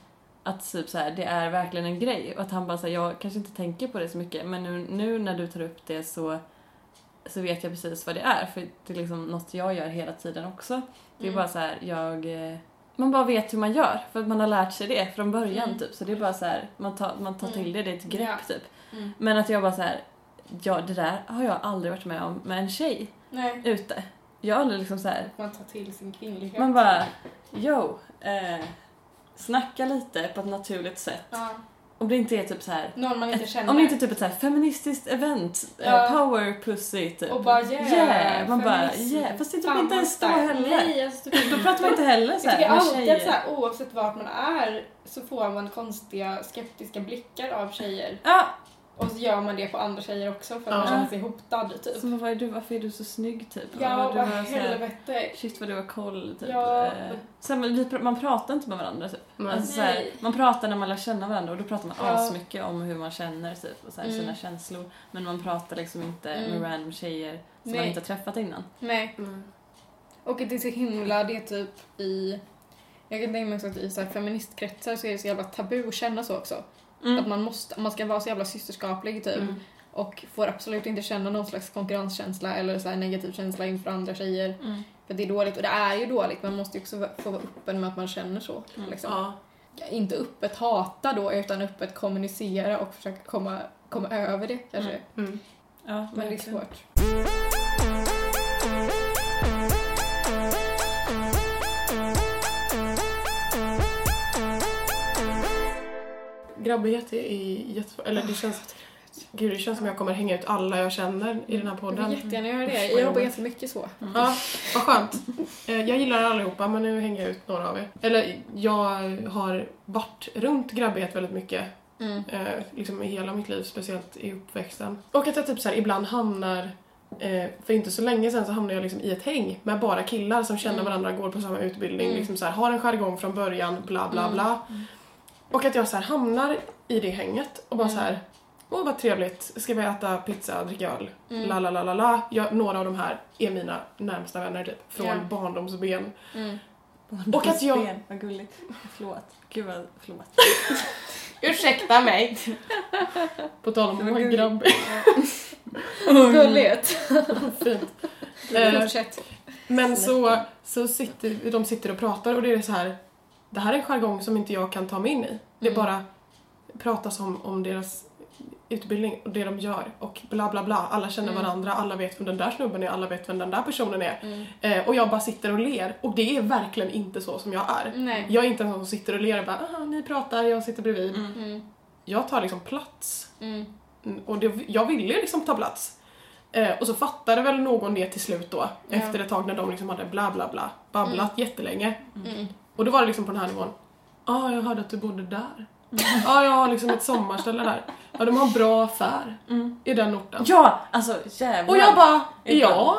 att typ så här, det är verkligen en grej. Och att han bara så här, jag kanske inte tänker på det så mycket men nu, nu när du tar upp det så så vet jag precis vad det är för det är liksom något jag gör hela tiden också. Det är Mm. bara så här, jag eh, man bara vet hur man gör för att man har lärt sig det från början Mm. typ så det är bara så här, man tar, man tar till det, det är ett grepp Ja. typ. Mm. Men att jag bara så här, ja det där har jag aldrig varit med om med en tjej Nej, ute. Jag har aldrig liksom så här, man tar till sin kvinnlighet. man bara yo, eh, snacka lite på ett naturligt sätt. Ja. Om det inte är typ så här Någon man inte ett- känner. Om det inte är typ ett så här feministiskt event, eh, Ja. power pussy typ. Och bara yeah, Yeah, man bara feminism. yeah. Fast det är typ Fan, inte ens då vad starkt. heller. Nej, alltså, typ, Då pratar man inte heller Jag såhär tycker med alltid att så tjejer. här, oavsett vart man är så får man konstiga skeptiska blickar av tjejer. Ja, Och så gör man det på andra tjejer också för att man Ja. känner sig hotad typ. som vad är du, varför är du så snygg typ? Ja, Och du vad var så här, helvete. Shit vad du har koll typ. Ja. Eh, Så här, men vi, pr- man pratar inte med varandra typ. Nej. Alltså, så här, Nej. man pratar när man lär känna varandra och då pratar man Ja. asmycket om hur man känner typ och så här, Mm. sina känslor. Men man pratar liksom inte Mm. med random tjejer som man Nej. inte har träffat innan. Nej. Mm. Och det är så himla, det är typ i... Jag kan tänka mig också att i så här feministkretsar så är det så jävla tabu att känna så också. Mm. Att man måste, man ska vara så jävla systerskaplig typ. Mm. Och får absolut inte känna någon slags konkurrenskänsla eller så här negativ känsla inför andra tjejer. Mm. För det är dåligt, och det är ju dåligt. Man måste ju också få vara öppen med att man känner så. Mm. Liksom. Ja. Ja, Inte öppet hata då, utan öppet kommunicera och försöka komma, komma över det kanske. Mm, Mm. Ja, Men det är verkligen. svårt. Grabbighet är jättesvårt. Eller det känns... Gud, det känns som jag kommer hänga ut alla jag känner i den Jag här vill podden. jättegärna göra det. Mm. Jag jobbar ganska mycket så. Ja, vad skönt. Eh, Jag gillar allihopa, men nu hänger jag ut några av er. Eller, jag har varit runt grabbighet väldigt mycket Mm. eh, liksom i hela mitt liv, speciellt i uppväxten. Och att jag typ så här, ibland hamnar, eh, för inte så länge sedan så hamnade jag liksom i ett häng med bara killar som känner Mm. varandra, går på samma utbildning, Mm. liksom så här, har en jargong från början, bla bla Mm. bla. Och att jag så här, hamnar i det hänget och bara Mm. så här, åh vad trevligt, ska vi äta pizza, dricka öl, Mm. la la la la la. Jag- Några av de här är mina närmsta vänner typ, från Ja. barndomsben. Mm. Och att jag- Ben, Vad gulligt. Förlåt. Gud vad förlåt. Ursäkta mig. På tal om Det var att vara gulligt. grabb. Gulligt. Fint. Eh, Fortsätt. Men så, så sitter de sitter och pratar och det är så här. Det här är en jargong som inte jag kan ta mig in i. Det Mm. bara pratas om, om deras utbildning och det de gör och bla bla bla. Alla känner Mm. varandra, alla vet vem den där snubben är, alla vet vem den där personen är. Mm. Eh, och jag bara sitter och ler och det är verkligen inte så som jag är. Nej. Jag är inte en sån som sitter och ler och bara ah, ni pratar, jag sitter bredvid. Mm. Mm. Jag tar liksom plats Mm. Mm, Och det, jag ville ju liksom ta plats. Eh, och så fattade väl någon det till slut då, Ja. efter ett tag när de liksom hade bla bla bla, babblat jättelänge. Mm. Och då var det liksom på den här nivån, ja ah, jag hörde att du bodde där. Ja, jag har liksom ett sommarställe där. Ja, de har en bra affär i den orten. Ja! Alltså jävlar. Och jag bara, Ibland. ja.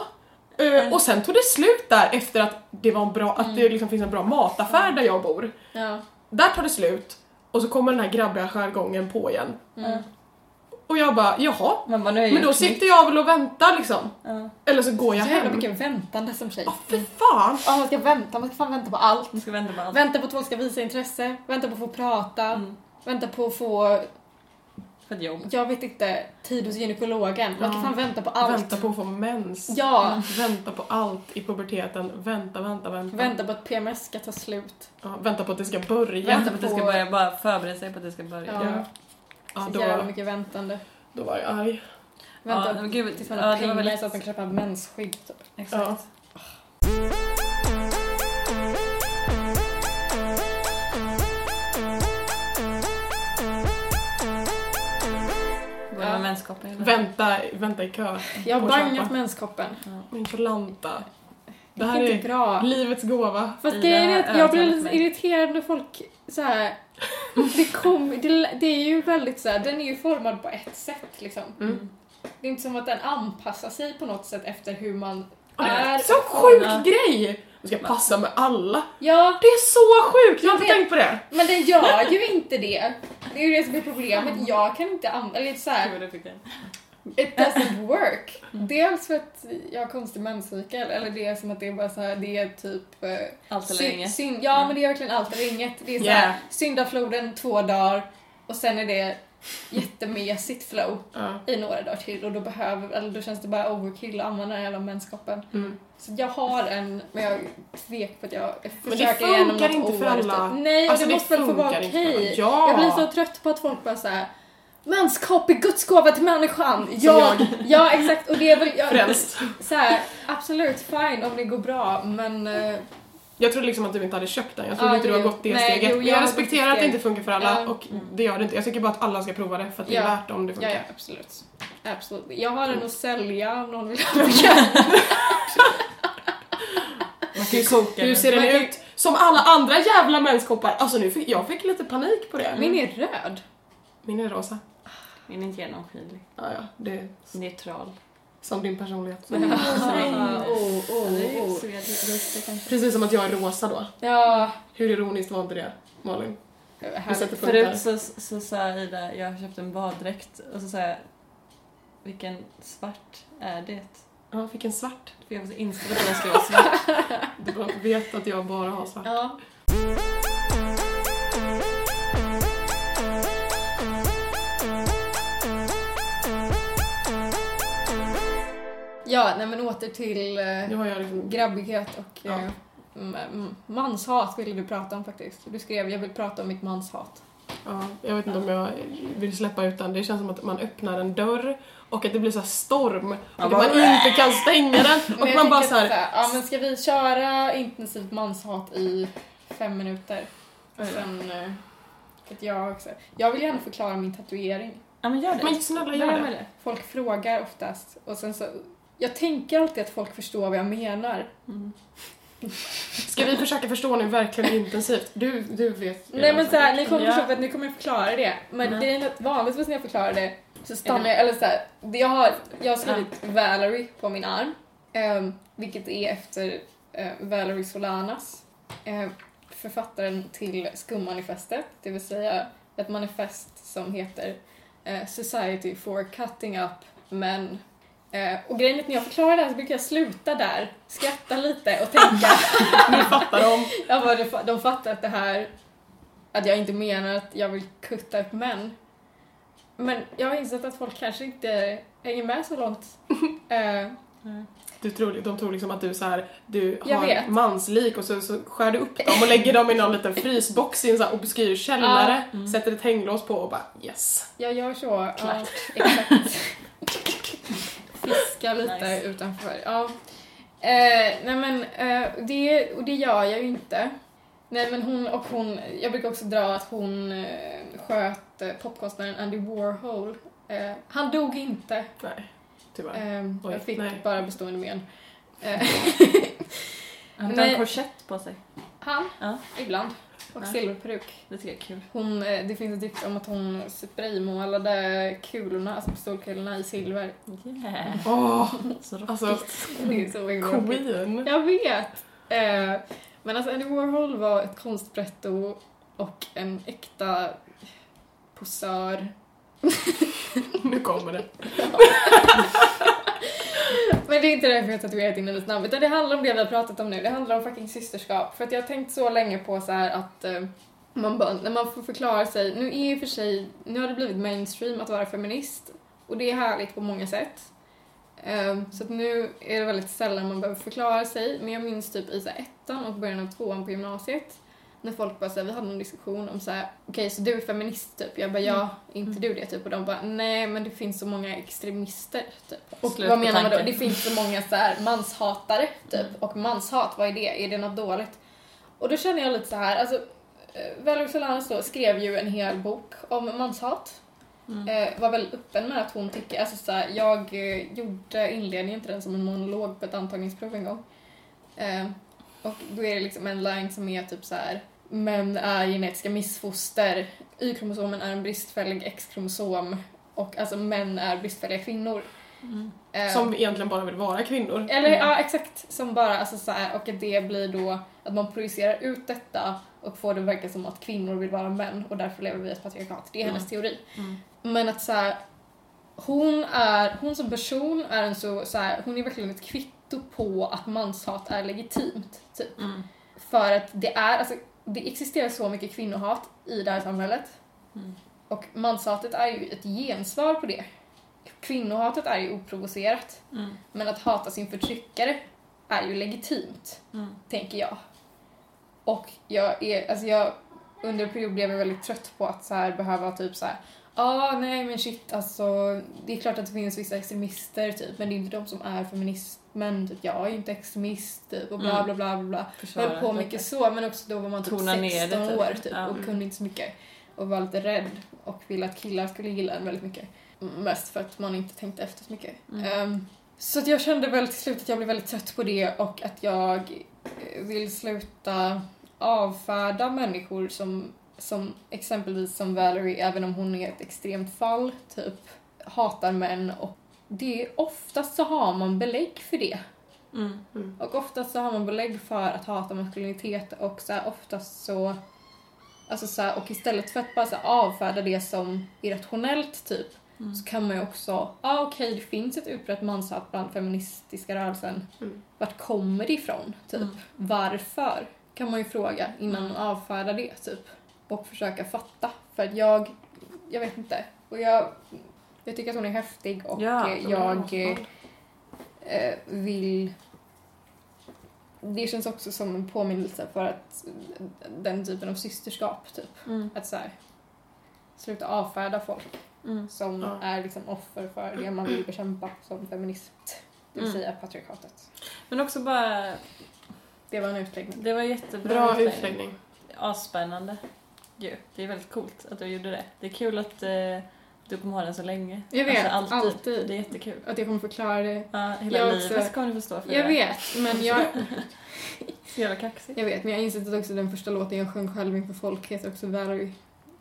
Eh, och sen tog det slut där efter att det, var en bra, att det liksom finns en bra mataffär där jag bor. Ja. Där tar det slut och så kommer den här grabbiga jargongen på igen. Mm. Och jag bara, jaha. Man bara, nu är jag Men då snygg. sitter jag väl och väntar liksom. Ja. Eller så går jag Jävlar hem. vilken Alltså, väntande som tjej. Ja, fy fan. Ja, man ska vänta, man ska fan vänta på allt. Nu ska vi vända på allt. Vänta på att folk ska visa intresse, vänta på att få prata, Mm. vänta på att få, För ett jobb. jag vet inte, tid hos gynekologen. Man kan Ja. fan vänta på allt. Vänta på Mm. att få mens. Ja, Vänta på allt i puberteten. Vänta, vänta, vänta. vänta på att PMS ska ta slut. Ja, vänta på att det ska börja. Vänta på att det ska på- börja, bara förbereda sig på att det ska börja. Ja, Ja. Ja, så jävla då, mycket väntande. då var jag arg. Vänta men gud, tills man ja, har det var pengar väl- så att man kan köpa mensskydd. Typ. Ja. Exakt. Börja Ja. med menskoppling. eller? Vänta, vänta i kö. Jag har Och bangat köpa. menskoppen. Min kalanta. Det Det här är inte är bra. livets gåva. Fast I grejen det är här att jag blir övertalet lite mig. irriterad när folk så här. Det, kom, det, det är ju väldigt så här, den är ju formad på ett sätt liksom. Mm. Det är inte som att den anpassar sig på något sätt efter hur man Och det är är. så sjuk Ja. grej! Du ska passa med alla. Ja, Det är så sjukt! Jag har Jag inte vet. tänkt på det. men den gör ju inte det. Det är ju det som är problemet. Jag kan inte använda, eller så här, Gud, det fick jag. it doesn't work. Dels för att jag har konstig menscykel, eller det är som att det är bara så här, det är typ eh, Allt eller Syn- inget. Syn, ja, men det är verkligen allt eller inget. Det är såhär, Yeah. syndafloden två dagar och sen är det jättemesigt flow Ja. i några dagar till och då behöver, eller då känns det bara overkill att använda den jävla menskoppen. Mm. Så jag har en, men jag tvek på att jag jag det försöker igenom funkar något inte för år alla. Typ. Nej, och Alltså, det det måste väl få vara funkar inte för alla. okej. Ja. Jag blir så trött på att folk bara såhär Menskopp är Guds gåva till människan! Ja, ja exakt, och det är väl... Jag, Frälst. så här, absolut fine om det går bra men eh, Jag trodde liksom att du inte hade köpt den. Jag trodde Ja, inte du har jo. gått det Nej, steget. jo, Men jag jag har respekterar gått att det det inte funkar för alla Ja. Mm. och det gör det inte. Jag tycker bara att alla ska prova det för att det är Ja. värt om det Ja, funkar. ja, absolut. absolut. Jag har den att sälja om någon vill ha den. Man kan ju koka Hur den. ser den Men det- ut? Som alla andra jävla menskoppar. Alltså nu fick, jag fick lite panik på det. Min är röd. Min är rosa. Den är inte genomskinlig. Ja, ja, det är Neutral. som din personlighet. Ah, oh, oh, oh. Precis som att jag är rosa då. Ja, Hur ironiskt var inte det, Malin? Vi härligt. sätter punkter. Förut så, så sa Ida, jag har köpt en baddräkt och så sa jag, vilken svart är det? Ja, jag fick en svart. För jag var så inställd på att den skulle vara svart. Du bara vet att jag bara har svart. Ja. ja, nej men åter till Nu eh, har jag liksom... grabbighet och Ja. eh, m- m- manshat ville du prata om faktiskt. Du skrev jag vill prata om mitt manshat. Ja, jag vet inte om jag vill släppa ut den. Det känns som att man öppnar en dörr och att det blir så här storm. Och att bara- man inte kan stänga den. Och Men jag man bara tänker såhär... att ja, men ska vi köra intensivt manshat i fem minuter? Och sen... eh, För att jag, också, jag vill gärna förklara min tatuering. Ja men gör det. Men snälla Börja gör med det. det. Folk frågar oftast och sen så... Jag tänker alltid att folk förstår vad jag menar. Mm. Ska vi försöka förstå nu verkligen intensivt? Du, du vet. Nej men såhär, ni kommer Ja. förstå för att nu kommer jag förklara det. Men Ja. grejen är att vanligtvis när jag förklarar det så stannar Är det- jag, eller såhär, jag har, jag har skrivit Valerie på min arm. ehm, vilket är efter eh, Valerie Solanas. eh, författaren till Skummanifestet. Det vill säga ett manifest som heter eh, Society for Cutting Up Men. Eh, och grejen är att när jag förklarar det här så brukar jag sluta där, skratta lite och tänka Ni fattar om. jag bara, de fa- de fattar att det här, att jag inte menar att jag vill kutta upp män. Men jag har insett att folk kanske inte hänger med så långt. Eh, Du tror, de tror liksom att du så här, du Jag har vet. manslik och så, så skär du upp dem och lägger dem i någon liten frysbox i en så här obskyr källare, Ja. Mm. sätter ett hänglås på och bara yes. jag gör så. Ja, Klart. exakt. Fiska lite Nice. utanför. Ja. Eh, nej men, eh, det, och det gör jag ju inte. Nej men hon och hon, jag brukar också dra att hon eh, sköt eh, popkonstnären Andy Warhol. Eh, han dog inte. Nej, tyvärr. Ehm, Oj, jag fick nej. bara bestående men. Eh, Han har Nej. en korsett på sig. han, Ja. ibland. Och Ja. silverperuk. Det tycker jag är kul. Hon, eh, det finns ett dikt om att hon spraymålade kulorna, alltså pistolkulorna i silver. Yeah. Åh, Så roligt. alltså Det är så oerhört. queen. Jag vet! Eh, men alltså Andy Warhol var ett konstbretto och en äkta posör Nu kommer det. Men det är inte därför jag har tatuerat in hennes namn, utan det handlar om det vi har pratat om nu. Det handlar om fucking systerskap. För att jag har tänkt så länge på så här att eh, man bara, när man får förklara sig, nu är ju för sig, nu har det blivit mainstream att vara feminist och det är härligt på många sätt. Eh, så att nu är det väldigt sällan man behöver förklara sig, men jag minns typ i så här, ettan och början av tvåan på gymnasiet när folk bara såhär, vi hade en diskussion om såhär, okej så du är feminist typ? Jag bara, ja, är inte du det typ? Och de bara, nej men det finns så många extremister typ. Och Slut vad på menar man då? tanken. Det finns så många såhär manshatare typ. Och manshat, vad är det? Är det något dåligt? Och då känner jag lite så här, alltså eh, Valerie Solanas då skrev ju en hel bok om manshat. Mm. Eh, var väl öppen med att hon tycker, alltså såhär, jag eh, gjorde inledningen till den som en monolog på ett antagningsprov en gång. Eh, och då är det liksom en line som är typ så här. Män är genetiska missfoster. Y-kromosomen är en bristfällig X-kromosom. Och alltså män är bristfälliga kvinnor. Mm. Eh, Som egentligen bara vill vara kvinnor. Mm. Eller ja, exakt. Som bara, alltså så här, och att det blir då att man projicerar ut detta och får det att verka som att kvinnor vill vara män och därför lever vi i ett patriarkat. Det är hennes teori. Mm. Men att så här, hon, är, hon som person är en så, så här, hon är verkligen ett kvitto på att manshat är legitimt. Typ. Mm. För att det är, alltså det existerar så mycket kvinnohat i det här samhället. Mm. Och manshatet är ju ett gensvar på det. Kvinnohatet är ju oprovocerat. Mm. Men att hata sin förtryckare är ju legitimt, Mm. tänker jag. Och jag är, alltså jag, under en period blev jag väldigt trött på att så här behöva typ så här. ah, nej men shit alltså, det är klart att det finns vissa extremister typ, men det är inte de som är feministmän, typ, jag är ju inte extremist typ, och bla Mm. bla bla bla bla. Försvara Höll på lite. mycket så, men också då var man typ Tona 16 ner det, typ. år typ, Ja. och kunde inte så mycket. Och var lite rädd och ville att killar skulle gilla en väldigt mycket. Mest för att man inte tänkte efter så mycket. Mm. Ehm, så att jag kände väl till slut att jag blev väldigt trött på det och att jag eh, vill sluta avfärda människor som, som exempelvis som Valerie, även om hon är ett extremt fall, typ hatar män och det, oftast så har man belägg för det. Mm. Och oftast så har man belägg för att hata maskulinitet och så här, oftast så... Alltså så här, och istället för att bara så här, avfärda det som irrationellt typ Mm. så kan man ju också, ja ah, okej det finns ett utbrett manshat bland feministiska rörelsen. Mm. Vart kommer det ifrån? Typ. Mm. Varför? Kan man ju fråga innan man avfärdar det typ. Och försöka fatta. För att jag, jag vet inte. Och jag, jag tycker att hon är häftig och Ja, eh, de är jag asbra. eh, vill... Det känns också som en påminnelse för att eh, den typen av systerskap typ. Mm. Att så här, sluta avfärda folk Mm. som Ja. är liksom offer för det man vill bekämpa som feminist. Det vill Mm. säga patriarkatet. Men också bara, Det var en utläggning. det var jättebra Bra utläggning. Asspännande. Ju. Det är väldigt coolt att du gjorde det. Det är kul att eh, du kommer ha den så länge. Jag vet, Alltså, alltid. Det är jättekul. Att jag kommer förklara det. Ja, hela Jag livet också. kommer du få stå för Jag det. vet, men jag, Så jävla kaxigt. jag vet, men jag har insett att också den första låten jag sjöng själv inför folk heter också Valerie.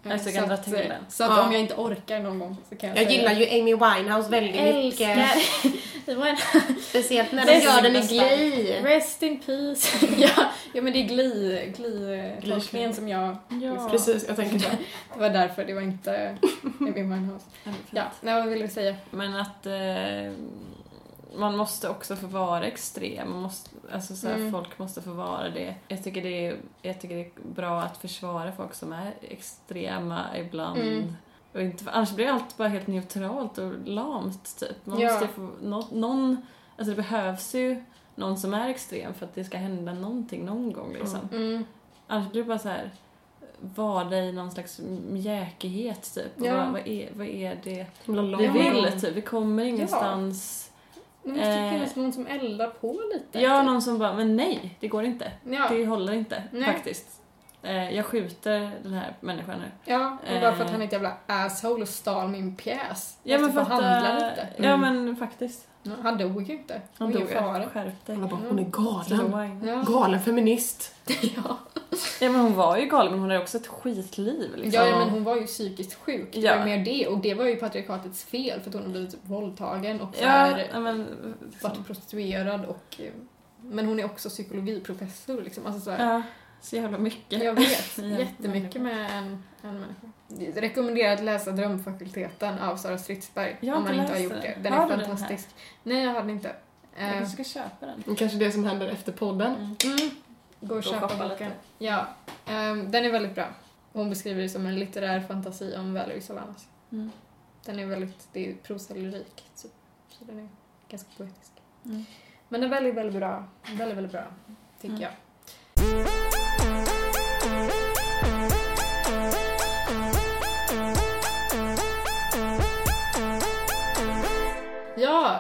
Eh, Alltså, jag kan dra att, till eh, den. Så att Ja. om jag inte orkar någon gång så kan jag Mm. Jag säga gillar det. ju Amy Winehouse väldigt mycket. Det var en Speciellt när Det de är gör den i nästan. Glee. Rest in peace. ja, ja, men det är Glee- Glee-tolkningen som jag... Ja. Precis, jag tänker det. Det var därför, det var inte Amy Winehouse. Ja, det är fint. Ja, nej, vad ville du säga? Men att eh, man måste också få vara extrem. Man måste, alltså så här, Mm. Folk måste få vara det. Jag tycker det, är, jag tycker det är bra att försvara folk som är extrema ibland. Mm. Och inte, annars blir allt bara helt neutralt och lamt. Typ. Man Ja. måste få, nå, någon, alltså det behövs ju någon som är extrem för att det ska hända någonting någon gång. Liksom. Mm. Annars blir det bara så här var i någon slags mjäkighet typ. Och Ja. Vad, vad, är, vad är det Himla lång. vi vill typ, vi kommer ingenstans. Det måste ju Eh, finnas någon som eldar på lite. Ja, någon typ. som bara, men nej, det går inte. typ- Ja, Det håller inte Nej. faktiskt. Eh, jag skjuter den här människan nu. ja och bara för att eh. han är ett jävla asshole och stal min pjäs. Ja men, Måste få handla fatta, lite. Mm, ja men faktiskt. Han dog ju inte. Han Det var ju Mm. dog. fara. Skärp dig. Alltså, Hon bara, hon är galen. Slow wine. Ja. Galen feminist. Ja. Ja men hon var ju galen men hon hade också ett skitliv liksom. Ja, ja, men hon var ju psykiskt sjuk. Det Ja. var ju mer det. Och det var ju patriarkatets fel för att hon hade blivit typ våldtagen och så Ja, här, ja, men... typ- varit prostituerad och... eh, Men hon är också psykologiprofessor liksom. Alltså så här, Ja, Så jävla mycket. Jag vet. I en Jättemycket människa. med en, en människa. Jag rekommenderar att läsa Drömfakulteten av Sara Stridsberg. Jag har om man inte inte har läst gjort det. den. Den Har är du den här? fantastisk. Nej, jag har den inte. Jag Eh, kanske ska köpa den. Det Kanske det som händer efter podden. Mm. Mm. Gå och Gå och köpa shoppa boken. lite. Ja. Ehm, den är väldigt bra. Hon beskriver det som en litterär fantasi om Valerie Solanas. Mm. Den är väldigt, det är prosa eller lyrik, typ. Så den är ganska poetisk. Mm. Men den är väldigt, väldigt bra. Väldigt, väldigt bra, tycker Mm. jag. Ja!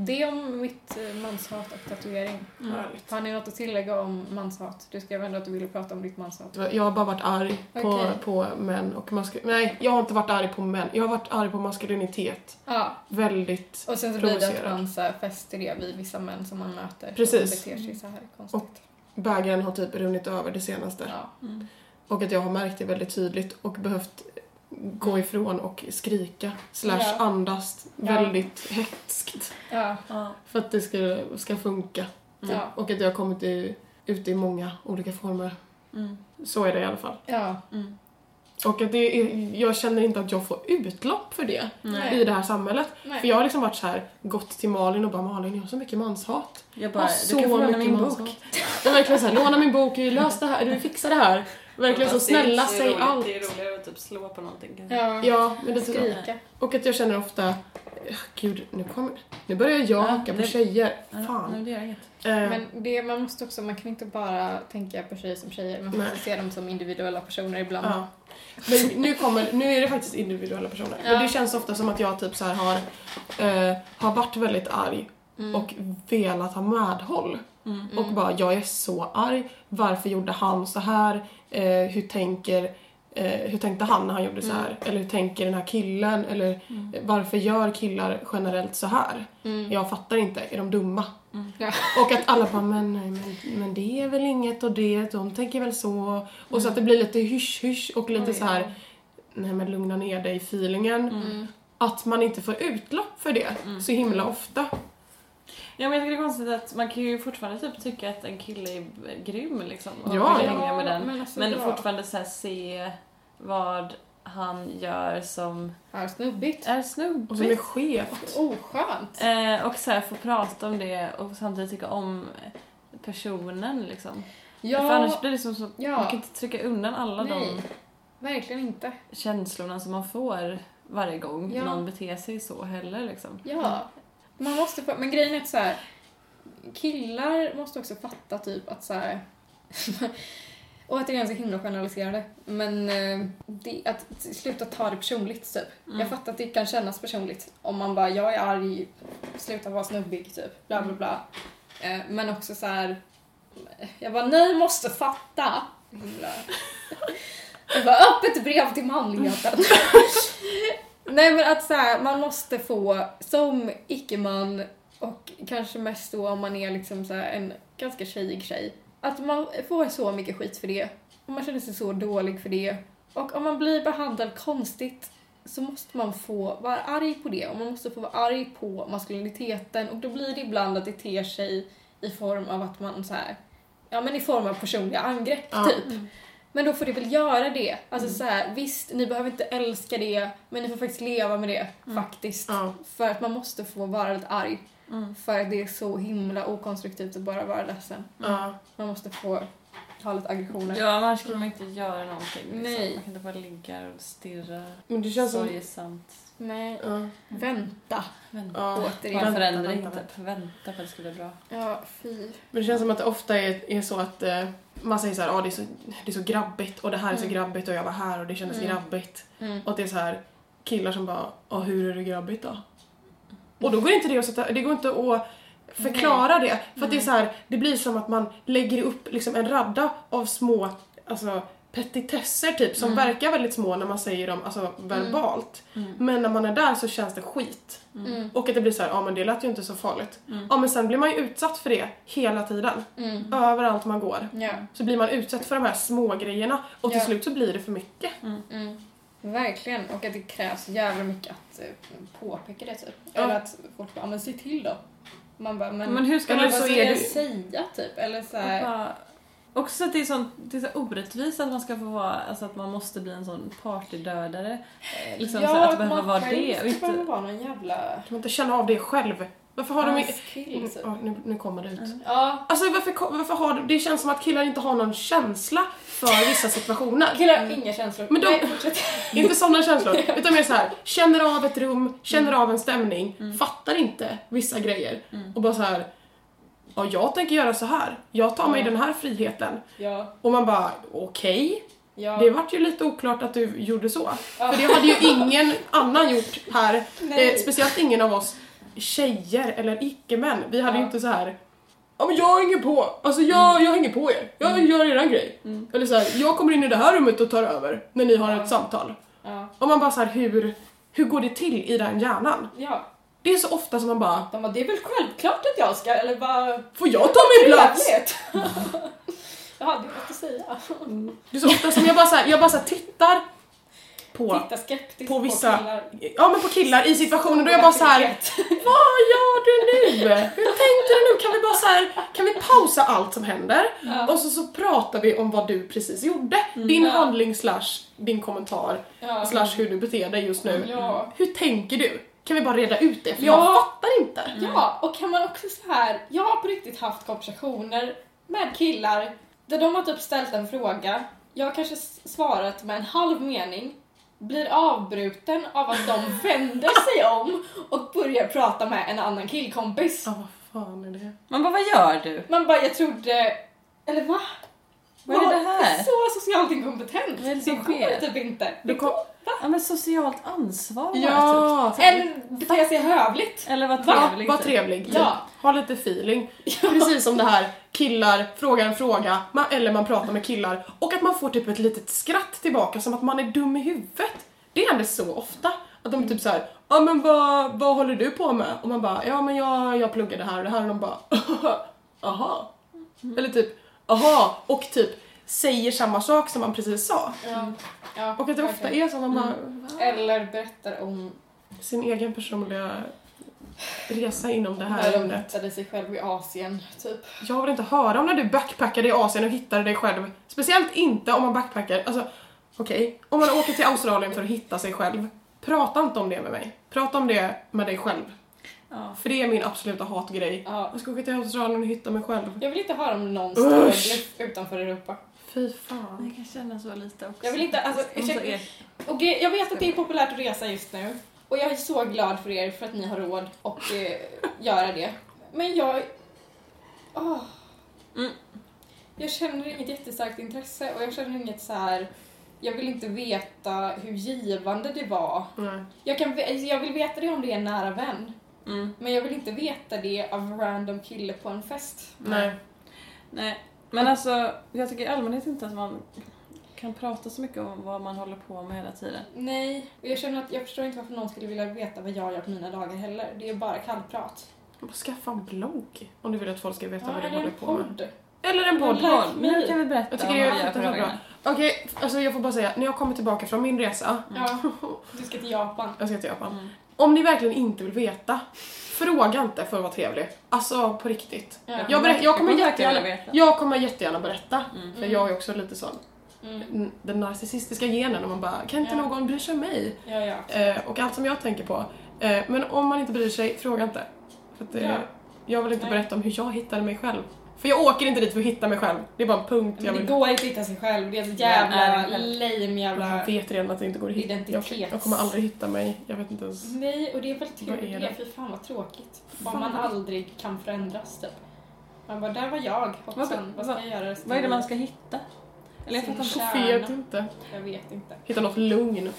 Det om mitt eh, manshat och tatuering. Härligt. Har ni något att tillägga om manshat? Du skrev ändå att du ville prata om ditt manshat. Jag har bara varit arg på, Okej. på män och maskulinitet. Nej, jag har inte varit arg på män. Jag har varit arg på maskulinitet. Ja, Väldigt. och sen så blir det att Provocerad. man så här fäster det vid vissa män som man möter. Precis. Som beter sig så här konstigt. Bägaren har typ runnit över det senaste. Ja. Mm. Och att jag har märkt det väldigt tydligt och behövt gå ifrån och skrika slash Ja. andas Ja. väldigt hetskt Ja. Ja. för att det ska, ska funka. Mm. Ja. Och att jag har kommit i, ut i många olika former. Mm. Så är det i alla fall. ja. Mm. Och att det är, jag känner inte att jag får utlopp för det Nej. i det här samhället. Nej. För jag har liksom varit så här, gått till Malin och bara Malin jag har så mycket manshat. Jag Jag bara, har du så kan få låna mycket min manshat. bok. Jag är verkligen såhär, låna min bok, lös det här, du fixar det här. Verkligen så, Fast det är snälla inte så säg roligt. allt. Det är roligare att typ slå på någonting. kanske. Ja. Ja, men det tycker jag. Skrika. Och att jag känner ofta, "Åh, gud nu kommer, nu börjar jag Ja, hacka på det- tjejer. Ja, Fan. Nej, det gör inget. Eh, Men det, man måste också, man kan inte bara tänka på tjejer som tjejer. Man måste Nej. se dem som individuella personer ibland. Ja. Men nu kommer, nu är det faktiskt individuella personer. Men Ja. det känns ofta som att jag typ så här har, eh, har varit väldigt arg Mm. och velat ha medhåll. Mm. Och bara, jag är så arg. Varför gjorde han så här? Eh, hur tänker eh, hur tänkte han när han gjorde så här? Eller hur tänker den här killen? Eller Mm. eh, varför gör killar generellt så här? Mm. Jag fattar inte, är de dumma? Mm. Ja. Och att alla bara, men, nej, men, men det är väl inget och det, de tänker väl så. Och så att det blir lite hysch-hysch och lite Oj, så här, nej men lugna ner dig i feelingen. Mm. Att man inte får utlopp för det Mm. så himla ofta. Ja, men jag tycker det är konstigt att man kan ju fortfarande typ tycka att en kille är b- grym liksom. Och Ja, vill ja. hänga med den. Men, alltså, Men bra. fortfarande så här, se vad han gör som Här, snubbigt. är Och som är snubbigt. skevt. Oskönt. Eh, och så här, få prata om det och samtidigt tycka om personen liksom. För annars Ja. blir det som så, Ja. man kan inte trycka undan alla Nej. Verkligen inte. de känslorna som man får varje gång Ja. någon beter sig så heller liksom. Ja. Man måste få, men grejen är att så här, killar måste också fatta typ att så här, och att det är ganska himla generaliserande, men eh, det, att sluta ta det personligt typ. Mm. Jag fattar att det kan kännas personligt om man bara, jag är arg, sluta vara snubbig typ, bla bla bla. Eh, men också så här, jag bara, ni måste fatta. Himla. Jag bara, öppet brev till manligheten. Nej men att så här, man måste få, som icke-man och kanske mest då om man är liksom så här en ganska tjejig tjej, att man får så mycket skit för det och man känner sig så dålig för det. Och om man blir behandlad konstigt så måste man få vara arg på det och man måste få vara arg på maskuliniteten och då blir det ibland att det ter sig i form av att man så här, ja men i form av personliga angrepp Ja. Mm. typ. Men då får det väl göra det. Alltså så här, visst, ni behöver inte älska det, men ni får faktiskt leva med det, faktiskt. Mm. Ja. För att man måste få vara lite arg. Mm. För att det är så himla okonstruktivt att bara vara ledsen. Ja. Man måste få ha lite Mm. aggressioner. Ja, annars skulle man inte göra någonting. Liksom. Nej. Man kan inte bara ligga och stirra Men det känns som... sorgesamt. Nej, Ja. vänta. Vänta. Ja. Bara Återigen. en förändring, vänta, typ. Vänta på att det skulle bli bra. Ja, fy. Men det känns som att det ofta är, är så att eh, man säger så här, ah, det, är så, det är så grabbigt och det här är så Mm. grabbigt och jag var här och det kändes Mm. grabbigt. Mm. Och att det är så här killar som bara, ah, hur är det grabbigt då? Och då går inte det att sätta, det går inte att förklara det. För att det är så här, det blir som att man lägger upp liksom en radda av små, alltså petitesser typ som Mm. verkar väldigt små när man säger dem alltså verbalt. Men när man är där så känns det skit. Mm. Och att det blir så här, ja ah, men det lät ju inte så farligt. Mm. Ja men sen blir man ju utsatt för det hela tiden. Mm. Överallt man går. Ja. Så blir man utsatt för de här små grejerna och till Ja. slut så blir det för mycket. Mm. Verkligen. Och att det krävs jävla mycket att eh, påpeka det, typ. Ja. Eller att folk bara, "Ja, men se till då. Man bara, men... Men hur ska Eller man Vad så ska är jag du- säga, typ? Eller så här... bara... Också att det är, sånt, det är så orättvist att man ska få vara, alltså att man måste bli en sån partydödare. Eh, Liksom så att behöva vara det och inte... behöver inte... vara någon jävla Kan man inte känna av det själv? Varför har de... Mm, askill. typ. Ja, nu, nu kommer det ut. Ja. Alltså varför, ko- varför har de... Det känns som att killar inte har någon känsla för vissa situationer. Killar har inga känslor. Men de- Mm. Nej, fortsätt. Inte sådana känslor, utan mer så här. känner av ett rum, känner av en stämning, fattar inte vissa grejer och bara så här. ja jag tänker göra så här, jag tar mig Ja. den här friheten. Ja, Och man bara, okej, ja. det vart ju lite oklart att du gjorde så. Ja. För det hade ju ingen annan gjort här, Nej. eh, speciellt ingen av oss tjejer eller icke-män. Vi hade Ja. Mm. ju inte så här. Ja men jag hänger på, alltså jag, jag hänger på er, jag gör eran grej. Eller så här, jag kommer in i det här rummet och tar över när ni har Ja. ett samtal. Ja. Och man bara så här, hur, hur går det till i den hjärnan? ja. Det är så ofta som man bara, De bara, det är väl självklart att jag ska, eller bara... får jag ta min plats? Trevligt. Jaha, det är något att säga. Det är så ofta som jag bara så här, jag bara så här tittar på, Titta skeptiskt på På vissa- killar. ja men på killar i situationer då jag bara så här, vad gör du nu? Hur tänkte du nu? Kan vi bara så här, kan vi pausa allt som händer? Ja. Mm. Och så, så pratar vi om vad du precis gjorde. Din Ja. handling slash din kommentar Ja. slash hur du beter dig just nu. Ja. Hur tänker du? Kan vi bara reda ut det? För Ja. jag fattar inte. ja, och kan man också så här, jag har på riktigt haft konversationer med killar där de har typ ställt en fråga, jag har kanske s- svarat med en halv mening, blir avbruten av att de vänder sig om och börjar prata med en annan killkompis. Ja, vad fan är det? Man bara, vad gör du? Man bara, jag trodde... Eller va? Vad är det här? Så socialt inkompetent! Vad är det Det som går sker? typ inte. Du kom... Ja men socialt ansvar bara, Ja! typ. Eller bete sig hövligt. Så- Eller vad Va? trevligt. Vad trevlig. typ. Ja. Ha lite feeling. Precis som det här killar frågar en fråga man, eller man pratar med killar och att man får typ ett litet skratt tillbaka som att man är dum i huvudet. Det händer så ofta. Att de typ såhär, ja men vad, vad håller du på med? Och man bara, ja men jag, jag pluggar det här och det här och de bara, aha. Eller typ, aha. Och typ säger samma sak som man precis sa. Ja. Ja, Och att det ofta verkligen. är så att man bara, Mm. va? Eller berättar om sin egen personliga resa inom det när här de ämnet. hittade sig själv i Asien, typ. Jag vill inte höra om när du backpackade i Asien och hittade dig själv. Speciellt inte om man backpackar, alltså okej, om man åker till Australien för att hitta sig själv. Prata inte om det med mig. Prata om det med dig själv. Ja. För det är min absoluta hatgrej. Ja. Jag ska åka till Australien och hitta mig själv. Jag vill inte höra om någon stor bluff utanför Europa. Fy fan. Jag kan känna så lite också. Jag vill inte- alltså, Om så ursäkta. är- Och eh, jag vet att det är populärt att resa just nu. Och jag är så glad för er för att ni har råd och eh, göra det. Men jag... Åh. Mm. Jag känner inget jättestarkt intresse och jag känner inget så här. Jag vill inte veta hur givande det var. Nej. Jag, kan, ve- jag vill veta det om det är en nära vän. Mm. Men jag vill inte veta det av random kille på en fest. Nej. Nej, men alltså jag tycker i allmänhet inte att man kan prata så mycket om vad man håller på med hela tiden. Nej, och jag känner att jag förstår inte varför någon skulle vilja veta vad jag gör på mina dagar heller. Det är bara kallprat. Bara Skaffa en blogg om du vill att folk ska veta vad du eller en håller på med. podd. Eller en podd. Like me. Nu kan vi berätta Jag tycker det om är vad vi gör på fruktansvärt bra. dagarna. Okej, alltså jag får bara säga, när jag kommer tillbaka från min resa, Ja, du ska till Japan. jag ska till Japan. Mm. Om ni verkligen inte vill veta, fråga inte för att vara trevlig. Alltså på riktigt. Ja. Jag, berätt, jag, kommer Jag kommer verkligen jättegärna, vilja veta. jag kommer jättegärna berätta. Mm. För jag är också lite sån, Mm. n- den narcissistiska genen och man bara, kan inte Ja. någon bry sig om mig? Ja, ja. Eh, och allt som jag tänker på. Eh, men om man inte bryr sig, fråga inte. För att, eh, Ja. Jag vill inte Nej. berätta om hur jag hittade mig själv. För jag åker inte dit för att hitta mig själv. Det är bara en punkt jag Men det vill... går inte att hitta sig själv. Det är ett Nej, jävla det är själv. lame jävla... Jag vet redan att det inte går att hitta. Jag, Identitets- jag kommer aldrig hitta mig. Jag vet inte ens. Nej, och det är väl Vad tur är det. det? Fy fan vad tråkigt. Om Fan. man aldrig kan förändras typ. Man bara, där var jag. Hoppsan, Vad- vad ska jag göra resten Vad är det av man livet? ska hitta? Eller jag Sin fattar inte. kärna. Jag vet inte. Jag vet inte. Hitta något lugn.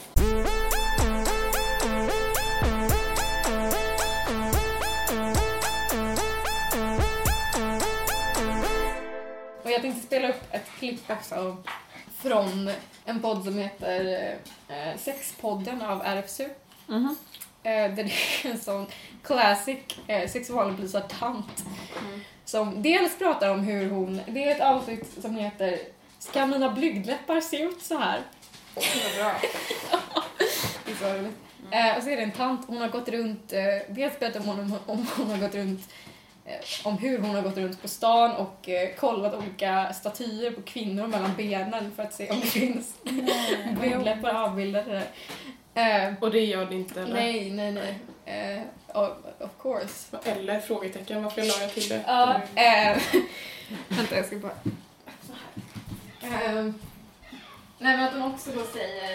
Och jag tänkte spela upp ett klipp också från en podd som heter eh, Sexpodden av RFSU. Mhm. Eh, där det är en sån classic eh, sexualupplysartant Mm. som dels pratar om hur hon... Det är ett avsnitt som heter Ska mina blygdläppar se ut så här? Det är så roligt. Eh, och så är det en tant, hon har gått runt, eh, dels berättar hon om, om hon har gått runt eh, eh, om hur hon har gått runt på stan och eh, kollat olika statyer på kvinnor mellan benen för att se om det finns Mm, blodläppar avbildade där. Eh, Och det gör det inte eller? nej, nej, nej. Eh, of, of course. Eller frågetecken, varför la jag till det? Ja, eh, vänta jag ska bara... Eh, nej men att de också då säger...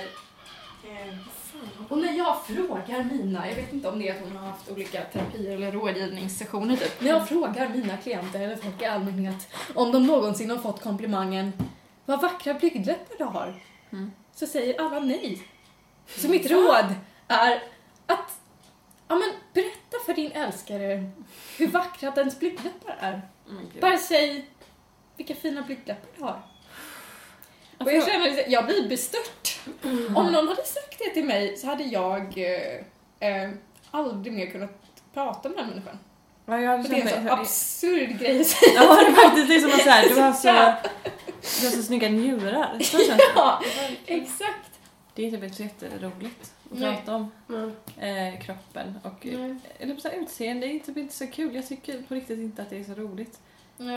Eh, fan. och när jag frågar mina, jag vet inte om det är att hon har haft olika terapier eller rådgivningssessioner typ. När jag frågar mina klienter eller folk i allmänhet om de någonsin har fått komplimangen Vad vackra blygdläppar du har. Mm. Så säger alla nej. Så mitt råd är att ja, men, berätta för din älskare hur vackra dens blygdläppar är. Men Mm, gud. Bara säg vilka fina blygdläppar du har. Och jag Varför- Mm. känner, liksom- jag blir bestört. Om någon hade sagt det till mig så hade jag eh, eh, aldrig mer kunnat prata med den människan. Ja, jag hade För det är känt en sån mig... absurd grej att säga. Ja, det är faktiskt det är som att säga, du har så... Du har så snygga njurar. Så känns det. Ja, exakt. Det är typ inte så jätteroligt att Nej. prata om Mm. eh, kroppen och eh, Nej. eller så här, utseende är typ inte så kul. Jag tycker på riktigt inte att det är så roligt. Nej.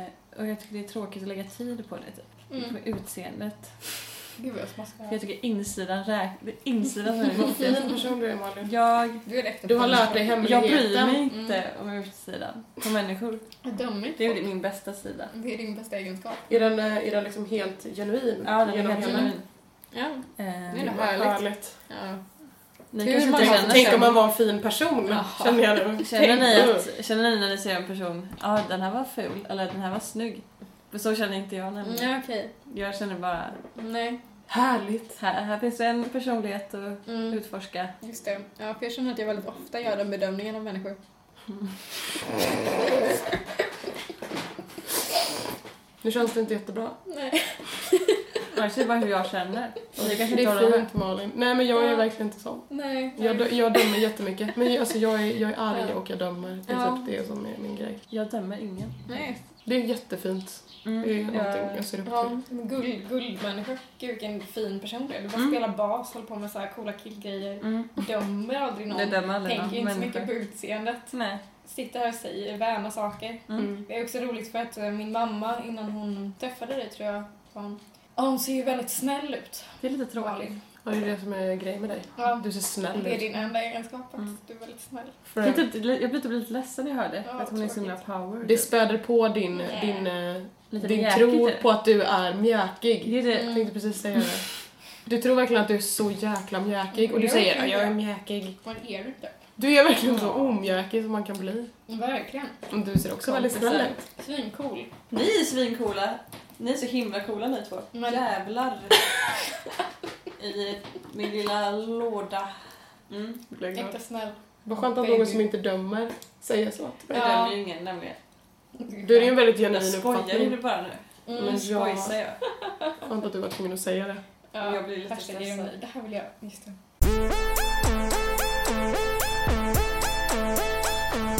Eh, och jag tycker det är tråkigt att lägga tid på det, typ. Mm. på utseendet. Gud vad jag smaskar. För jag tycker insidan räk... det är insidan som är det Vad fin viktigaste. person du är Malin. Jag, Du är rätt Du har lärt dig jag hemligheten. bryr mig inte Mm. om utsidan på människor. Jag dömer inte Det är folk. min bästa sida. Det är din bästa egenskap. Är den, eh, är den liksom helt genuin? Ja, den är Genom helt hela- genuin. Ja. Eh, Mm. Det är det Vad Härligt. Härligt. ja. Ni Hur kanske man inte känner känner Tänk så. om man var en fin person, Jaha. känner jag nu. Känner ni, Tänk. Mm. att, känner ni när ni ser en person, ja ah, den här var ful eller den här var snygg. För så känner inte jag nämligen. Nej, okej. Jag känner bara, Nej. Härligt. här, här finns det en personlighet att Mm. utforska. Just det. Ja, för jag känner att jag väldigt ofta gör den bedömningen av människor. Nu känns det inte jättebra. Nej. Annars är det bara hur jag känner. Och det kanske Det inte håller är med. fint Malin. Nej men jag är verkligen inte sån. Nej. Jag, dö- jag dömer jättemycket. Men jag, alltså, jag, är, jag är arg och jag dömer. Det är Ja. typ det som är min grej. Jag dömer ingen. Nej. Det är jättefint. Mm, Det är jag- någonting jag ser upp till. Ja, men guld, guldmänniska. Gud vilken fin person du är. Du bara Mm. spelar bas, håller på med så här coola killgrejer. Mm. Dömer aldrig någon. Det dömer aldrig Tänker någon inte så människa. mycket på utseendet. Nej. Sitter här och säger väna saker. Mm. Det är också roligt för att eh, min mamma, innan hon träffade dig tror jag, sa hon Ja, hon ser ju väldigt snäll ut. Det är lite tråkigt. Malin. Ja, det är det som är grejen med dig. Ja. Du ser snäll Det är ut. din enda egenskap faktiskt. Mm. Du är väldigt snäll. För- Jag blir, typ, jag blir typ lite ledsen när jag hör det. Ja, för att hon är så tråkigt. himla power. Det typ. späder på din, Nej. din, eh, Lite din mjäkigt tro är det. på att du är mjäkig. Det är Mm. det. Jag tänkte precis säga det. Du tror verkligen att du är så jäkla mjäkig och du Jag säger verkligen att jag är det. mjäkig. Vad är du inte? Du är verkligen så omjäkig som man kan bli. Verkligen. Och du ser också väldigt Kompisar. snäll ut. Svincool. Ni är svincoola. Ni är så himla coola ni två. Men- Jävlar. I min lilla låda. Mm. Jag blir glad. Äkta snäll. Vad skönt att Baby. någon som inte dömer säger så till mig. Jag Ja. dömer ju ingen nämligen. Du är ju en väldigt Jag genuin skojar ju uppfattning. bara nu. Mm. Men Men jag- skojsar jag. Skönt att du var tvungen att säga det. Ja, Jag blir lite värsta grejen. stressad. Det här vill jag, just det. Mm.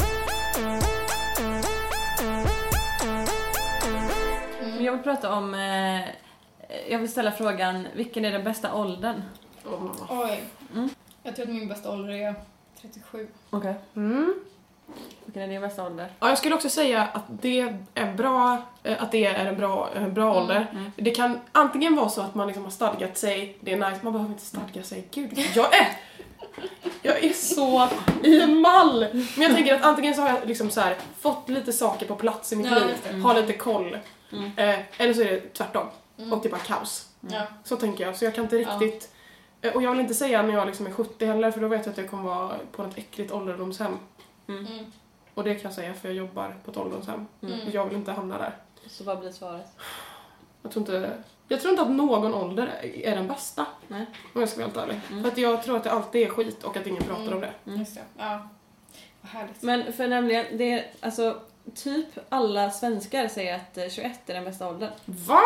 Men jag vill prata om... Eh, jag vill ställa frågan, vilken är den bästa åldern? Oh. Oj. Mm. Jag tror att min bästa ålder är 37. Okej. Mm. Vilken är din bästa ålder? Ja, jag skulle också säga att det är bra, eh, att det är en bra, en bra ålder. Mm. Det kan antingen vara så att man liksom har stadgat sig, det är nice, man behöver inte stadga sig. Gud, jag är... Jag är så i mall! Men jag tänker att antingen så har jag liksom så här, fått lite saker på plats i mitt Ja, liv, just det. Mm. har lite koll. Mm. Eh, eller så är det tvärtom, Mm. och det är bara kaos. Mm. Ja. Så tänker jag, så jag kan inte Ja. riktigt... eh, Och jag vill inte säga när jag liksom är 70 heller, för då vet jag att jag kommer vara på något äckligt ålderdomshem. Mm. Och det kan jag säga för jag jobbar på ett ålderdomshem. Mm. Och Jag vill inte hamna där. Så vad blir svaret? Jag tror inte, jag tror inte att någon ålder är den bästa. Nej. Om jag ska vara helt ärlig. Mm. För att jag tror att det alltid är skit och att ingen pratar Mm. om det. Mm. Just det. Ja. Vad härligt. Men för nämligen, det är alltså typ alla svenskar säger att eh, 21 är den bästa åldern. Va?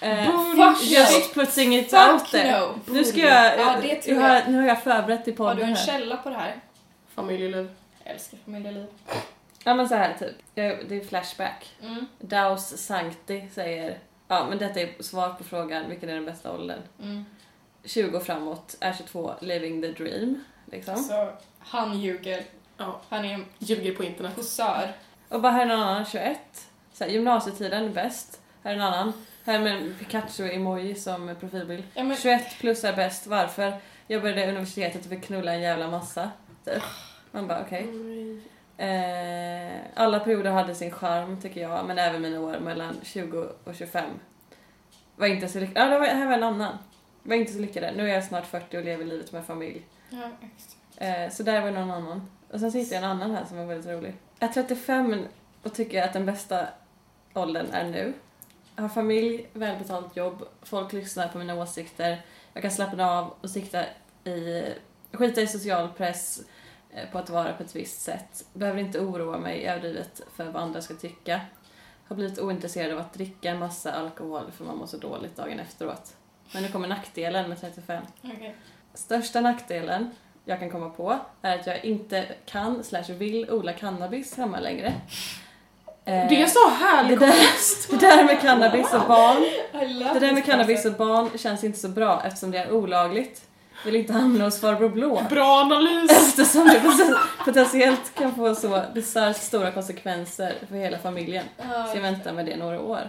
Eh, Fuck just putting it Fuck out there. no. Nu ska jag, Ja, det tror jag har, nu har jag förberett i Har du podden en här. källa på det här? Familjeliv. Jag älskar familjeliv. Ja men så här typ, Eh, det är flashback. Mm. Daus Sankti säger, ja men detta är svar på frågan vilken är den bästa åldern. Mm. 20 framåt, är 22, living the dream. Liksom. Så han ljuger. Ja. Han är en Ljuger på internet. posör. Och bara här är en annan 21. Så här, gymnasietiden, bäst. Här är en annan. Här är en Pikachu-emoji som profilbild. Ja, men, 21 plus är bäst, varför? Jag började universitetet och fick knulla en jävla massa. Typ. Man bara okej. Eh, alla perioder hade sin charm tycker jag, men även mina år mellan 20 och 25. Var inte så lyckade. Ja, det var, här var en annan. Var inte så lyckade. Nu är jag snart 40 och lever livet med familj. ja, exakt. Eh, så där var någon annan. Och sen så hittade jag en annan här som var väldigt rolig. Jag är 35 och tycker att den bästa åldern är nu. Jag har familj, välbetalt jobb, folk lyssnar på mina åsikter, jag kan slappna av och sikta i, skita i social press eh, på att vara på ett visst sätt. Behöver inte oroa mig överdrivet för vad andra ska tycka. Har blivit ointresserad av att dricka en massa alkohol för man mår så dåligt dagen efteråt. Men nu kommer nackdelen med 35. Okej. Största nackdelen jag kan komma på är att jag inte kan slash vill odla cannabis hemma längre. Eh, Det är så härligt! det där, det där med cannabis och barn, I love det där med this cannabis concept. och barn känns inte så bra eftersom det är olagligt. Vill inte hamna hos farbror blå. Bra analys! Eftersom det poten- potentiellt kan få så bisarrt stora konsekvenser för hela familjen. Ja, Så jag väntar med det några år.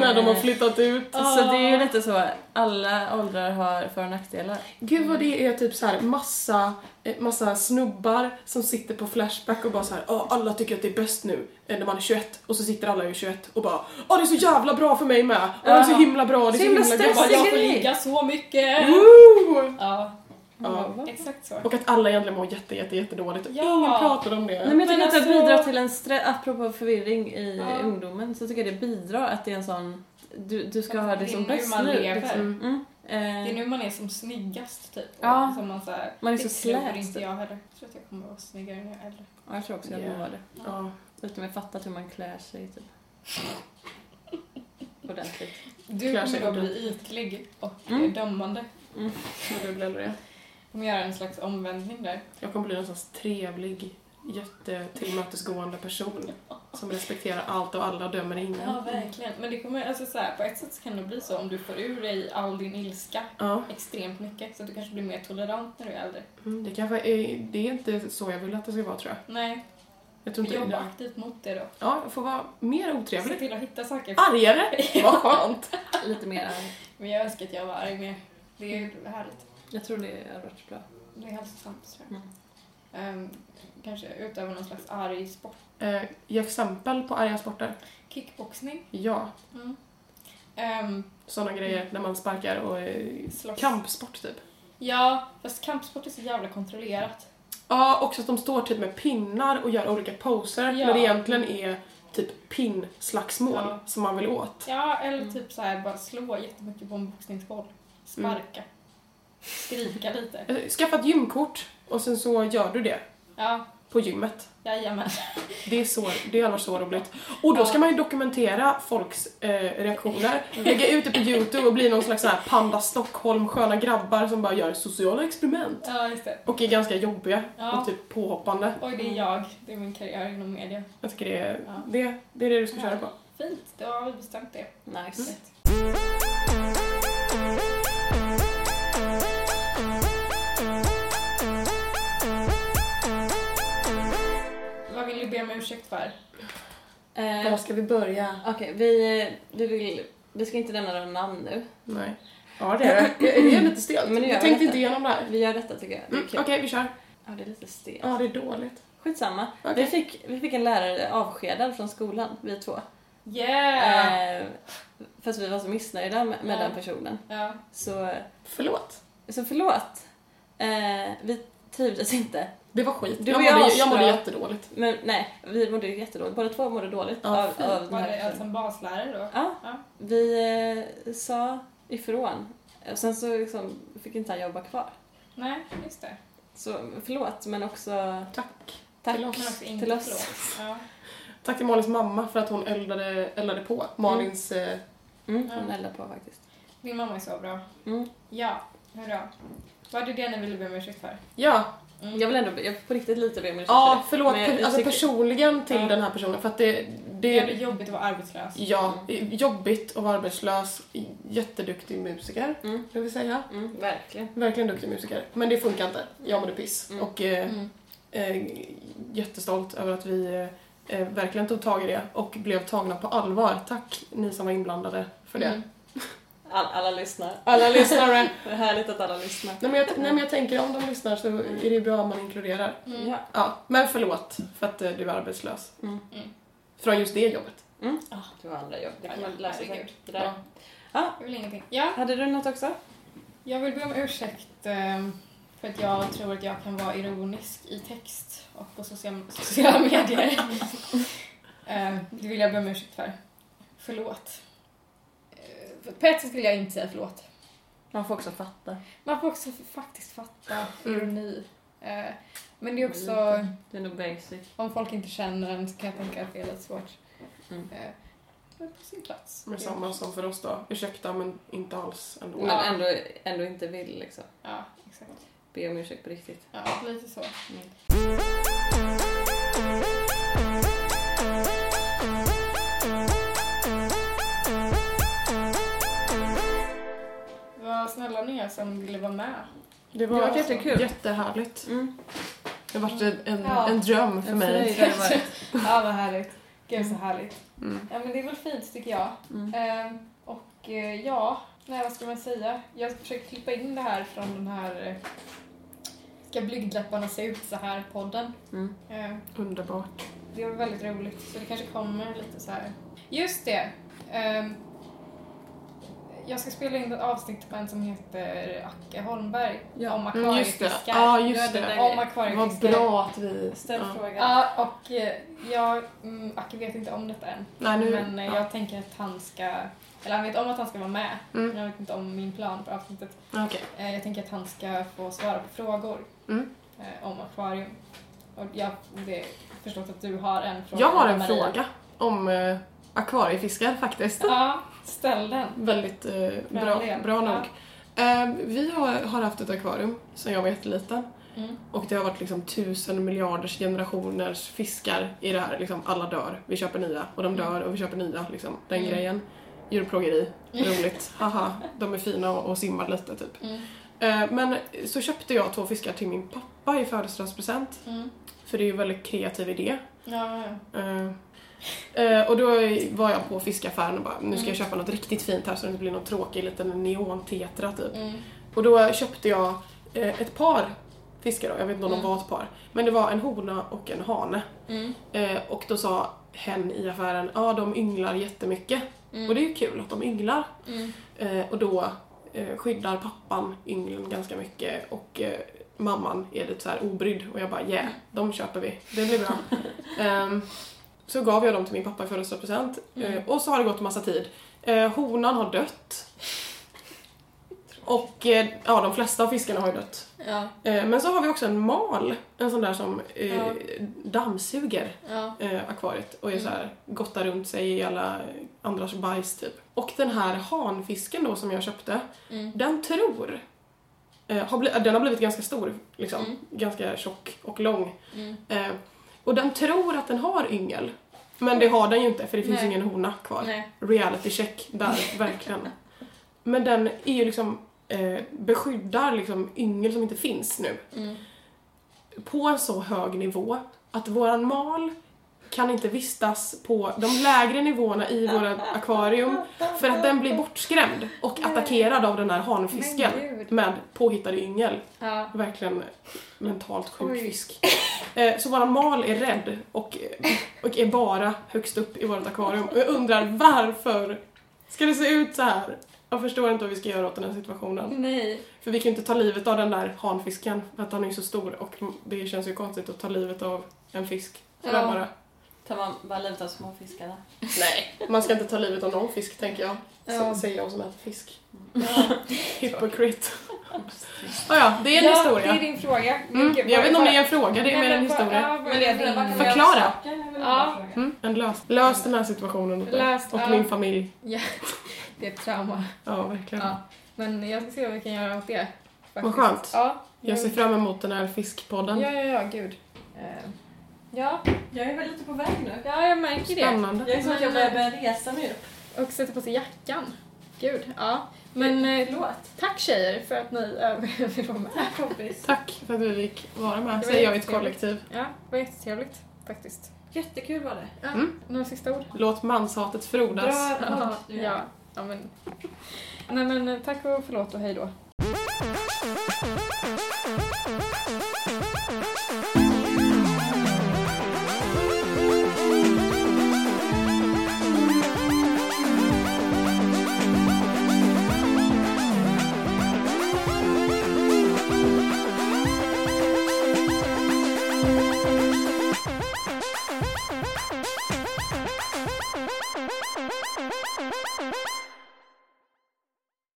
När de har Eh, flyttat ut. Så det är ju lite så, alla åldrar har för och nackdelar. Gud vad det är typ så här massa, eh, massa snubbar som sitter på Flashback och bara så här, "Ja, alla tycker att det är bäst nu eh, när man är 21 och så sitter alla i 21 och bara ja det är så jävla bra för mig med och det är så Ja. himla bra, det är så himla, Jag bara, gammalt. jag får ligga så mycket! Mm. Woo! Ja, Ja. exakt så. Och att alla egentligen mår jätte, jätte, jättedåligt och Ja. ingen pratar om det. Nej, men jag tycker Men att det alltså- bidrar till en stress, apropå förvirring i Ja. ungdomen, så tycker jag det bidrar att det är en sån, du, du ska ha det som Det är nu bäst man nu. lever. Liksom. Mm. Det är Eh, nu man är som snyggast typ. Ja. Och Som man, så här, Man är så Det tror slät. typ. inte jag heller. Jag tror att jag kommer vara snyggare när jag är äldre. ja, jag tror också jag Ja. yeah. var det. Ja. Utom jag fattat hur man klär sig typ. Ordentligt. Du Klär sig kommer då ordentligt. bli ytlig och Mm. eh, dömande. Men du blir äldre. Du kommer göra en slags omvändning där. Jag kommer bli någon slags trevlig, jättetillmötesgående person som respekterar allt och alla och dömer Mm. ingen. Ja, verkligen. Men det kommer, alltså så här, på ett sätt så kan det bli så om du får ur dig all din ilska Ja, extremt mycket så att du kanske blir mer tolerant när du är äldre. mm, det kanske är, det är inte så jag vill att det ska vara tror jag. Nej, Jag tror inte jobba det. aktivt mot det då. Ja, jag får vara mer Se otrevlig. till att hitta saker. Argare! Vad skönt! Lite mer arg. Men jag önskar att jag var arg mer. Det är ju härligt. Jag tror det hade varit bra. Det är hälsosamt tror jag. Mm. Ehm, kanske utöva någon slags arg sport. Eh, ge exempel på arga sporter. Kickboxning. Ja, Mm. Ehm, sådana grejer när man sparkar och eh, slåss. kampsport typ. Ja, fast kampsport är så jävla kontrollerat. Ja, också att de står typ med pinnar och gör olika poser Ja. när det egentligen är typ pinnslagsmål Ja. som man vill åt. Ja, eller Mm. typ så här bara slå jättemycket på en boxningsboll. Sparka. Mm. Skrika lite. Eh, Skaffa ett gymkort och sen så gör du det Ja, på gymmet. jajamän. Det är, så, det är annars så roligt. Och då ska man ju dokumentera folks eh, reaktioner. Lägga ut det på Youtube och bli någon slags sån här Panda Stockholm, sköna grabbar som bara gör sociala experiment. Ja, just det. Och är ganska jobbiga Ja. och typ påhoppande. Oj, Mm. det är jag. Det är min karriär inom media. Jag tycker det är, Ja. det, det är det du ska köra på. Fint, då har vi bestämt det. Nice. Vad vill du be om ursäkt för? Eh, ska vi börja? Okej, vi, eh, vi vill, vi ska inte nämna några namn nu. Nej. Ja det är det. Det är lite stelt. Men det gör jag tänkte jag inte inte. igenom det här. Vi gör detta tycker jag. Det är Mm, kul. Okej, vi kör. Ja, det är lite stelt. Ja, det är dåligt. Skitsamma. Okej. Vi, fick, vi fick en lärare avskedad från skolan, vi två. Yeah! Eh, för att vi var så missnöjda med, med Ja. den personen. Ja. Så, Förlåt. så förlåt. Eh, vi trivdes inte. Det var skit. Du jag, och jag mådde, jag mådde avslöjar. jättedåligt. Men nej, vi mådde ju jättedåligt. Båda två mådde dåligt Ja, av, av den Var här det personen. alltså en baslärare då? Ja, Ja. vi eh, sa ifrån. Och sen så liksom fick inte han jobba kvar. Nej, just det. Så förlåt, men också Tack. tack Till Men också inte till oss. förlåt. Ja. Tack till Malins mamma för att hon eldade, eldade på Malins... eh, Mm, hon eldar på faktiskt. Din mamma är så bra. Mm. Ja, hurra. Var det det ni ville be om ursäkt för? Ja, Mm. Jag vill ändå be- jag på riktigt lite be om ursäkt för ja det. förlåt. Men jag- jag alltså tycker- personligen till Ja. den här personen för att det... Det det är jobbigt att vara arbetslös. ja, jobbigt att vara arbetslös. Jätteduktig musiker, Mm. vill vi säga. Mm, verkligen. Verkligen duktig musiker. Men det funkar inte. Jag mådde piss. Mm. Och eh, Mm. eh, jättestolt över att vi eh, eh, verkligen tog tag i det och blev tagna på allvar. Tack ni som var inblandade för det. Mm. All, alla lyssnar. Alla lyssnare! Det är härligt att alla lyssnar. nej, men jag, nej men jag tänker om de lyssnar så är det ju bra om man inkluderar. Mm. Ja. Ja, men förlåt för att eh, du är arbetslös. Mm. Mm. Från just det jobbet. Ah, det var andra jobb. Det kan Ja, man lära sig. herregud. Det där. Ja. Jag vill ingenting. Ja, Hade du något också? jag vill be om ursäkt eh, för att jag tror att jag kan vara ironisk i text och på social, sociala medier. Eh, det vill jag be om ursäkt för. Förlåt. Eh, På ett sätt vill jag inte säga förlåt. Man får också fatta. Man får också faktiskt fatta ironi. Eh, Men det är också... Det är nog basic. Om folk inte känner en så kan jag tänka att det är lite svårt. Mm. Eh, Men på sin plats. Med samma som för oss då. Ursäkta men inte alls ändå. Men Ja. ändå, ändå inte vill liksom. Ja, exakt. Be om ursäkt på riktigt. Ja, Mm. lite så. Vad snälla ni är som ville vara med. Det var jättekul. jättehärligt. Mm. Det har varit en, Ja. en dröm för En mig. fröjd har det varit. Ja, vad härligt. Gud, så härligt. Mm. Ja, men det är väl fint tycker jag. Mm. Eh, och eh, ja, nej, vad ska man säga? Jag försöker klippa in det här från den här eh, Ska blygdläpparna se ut så här-podden. Mm. Eh, Underbart. det var väldigt roligt, så det kanske kommer lite så här. Just det! ehm, jag ska spela in ett avsnitt med en som heter Acke Holmberg Ja, om Mm, just det. akvariefiskar. Ja, Ja, just det det. där- Om Vad akvariefiskar. bra att vi... Ställ ja. frågan. Ja, och eh, jag, mm, Acke vet inte om detta än. Nej, nu... Men eh, ja. jag tänker att han ska, eller han vet om att han ska vara med. Mm. Men jag vet inte om min plan för avsnittet. Okej. Eh, jag tänker att han ska få svara på frågor Mm. eh, om akvarium. Och jag det, förstått att du har en fråga. Jag har en Maria. fråga om eh, akvariefiskar faktiskt. Ja, ställ den. Väldigt eh, Bra bra, idé. bra nog. Eh, vi har, har haft ett akvarium sedan jag var jätteliten. Mm. Och det har varit liksom tusen miljarders generationers fiskar i det här. Liksom, alla dör, vi köper nya. Och de dör och vi köper nya. Liksom, den Mm. grejen. Djurplågeri, roligt. Haha, de är fina och, och simmar lite typ. Mm. Eh, men så köpte jag två fiskar till min pappa i födelsedagspresent. Mm. För det är ju en väldigt kreativ idé. Ja, ja. Eh, eh, och då var jag på fiskaffären och bara, nu ska jag köpa något riktigt fint här så det inte blir någon tråkig liten neontetra typ. Mm. Och då köpte jag eh, ett par fiskar då, jag vet inte om Mm. de var ett par. Men det var en hona och en hane. Mm. Eh, och då sa hen i affären, ja de ynglar jättemycket. Och det är ju kul att de ynglar. Mm. Eh, och då eh, skyddar pappan ynglen ganska mycket och eh, mamman är lite så här obrydd och jag bara yeah, de köper vi, det blir bra. Ehm, så gav jag dem till min pappa i födelsedagspresent eh, och så har det gått massa tid. Eh, honan har dött. Och eh, ja, de flesta av fiskarna har ju dött. Ja, Eh, men så har vi också en mal, en sån där som eh, Ja. dammsuger ja. eh, akvariet och är så Mm. här, gottar runt sig i alla andras bajs typ. Och den här hanfisken då som jag köpte, Mm. den tror eh, har bli, den har blivit ganska stor, liksom. Mm. Ganska tjock och lång. Mm. Eh, och den tror att den har yngel. Men det har den ju inte för det finns Nej. ingen hona kvar. Nej. Reality check där, verkligen. Men den är ju liksom eh, beskyddar liksom yngel som inte finns nu Mm. på en så hög nivå att våran mal kan inte vistas på de lägre nivåerna i våra akvarium för att den blir bortskrämd och attackerad av den här hanfisken Men gud. med påhittade yngel. Ja. Verkligen mentalt sjuk Oj. fisk. Eh, Så våran mal är rädd och, och är bara högst upp i vårt akvarium. Och jag undrar varför ska det se ut så här? Jag förstår inte vad vi ska göra åt den här situationen. Nej. För vi kan ju inte ta livet av den där hanfisken för att han är ju så stor och det känns ju konstigt att ta livet av en fisk. Sådär Ja. bara. Tar man bara livet av småfiskarna? Man ska inte ta livet av någon fisk tänker jag. S- Ja. Säger jag som äter fisk. Ja. Hypocrite. ah, ja, det är en ja, historia. Det är din fråga. Mm, Vilken- jag vet inte om det vad- är en fråga, det är Nej, mer en men vad- historia. ja, vad är din- Förklara. Ja. Mm, en lös. lös den här situationen åt mig. Löst, Och ja. min familj. Det är ett trauma. Ja, verkligen. Ja. Men jag ska se vad vi kan göra åt det. Vad faktiskt. skönt. Ja. Jag ser fram emot den här fiskpodden. Ja, ja, ja, gud. Eh, Ja, Jag är väl lite på väg nu. ja jag märker det. Spännande. Jag är som att jag börjar börja resa nu. Och sätter på sig jackan. Gud, ja. Men eh, Förlåt. tack tjejer för att ni eh, vill vara med. Kompis. Tack för att vi fick vara med, Det var säger jag i ett jättetrevligt. kollektiv. Ja, det var jättetrevligt faktiskt. Jättekul var det. Mm. Några sista ord? Låt manshatet frodas. Bra. Ja. ja men. Nej men eh, tack och förlåt och hej då.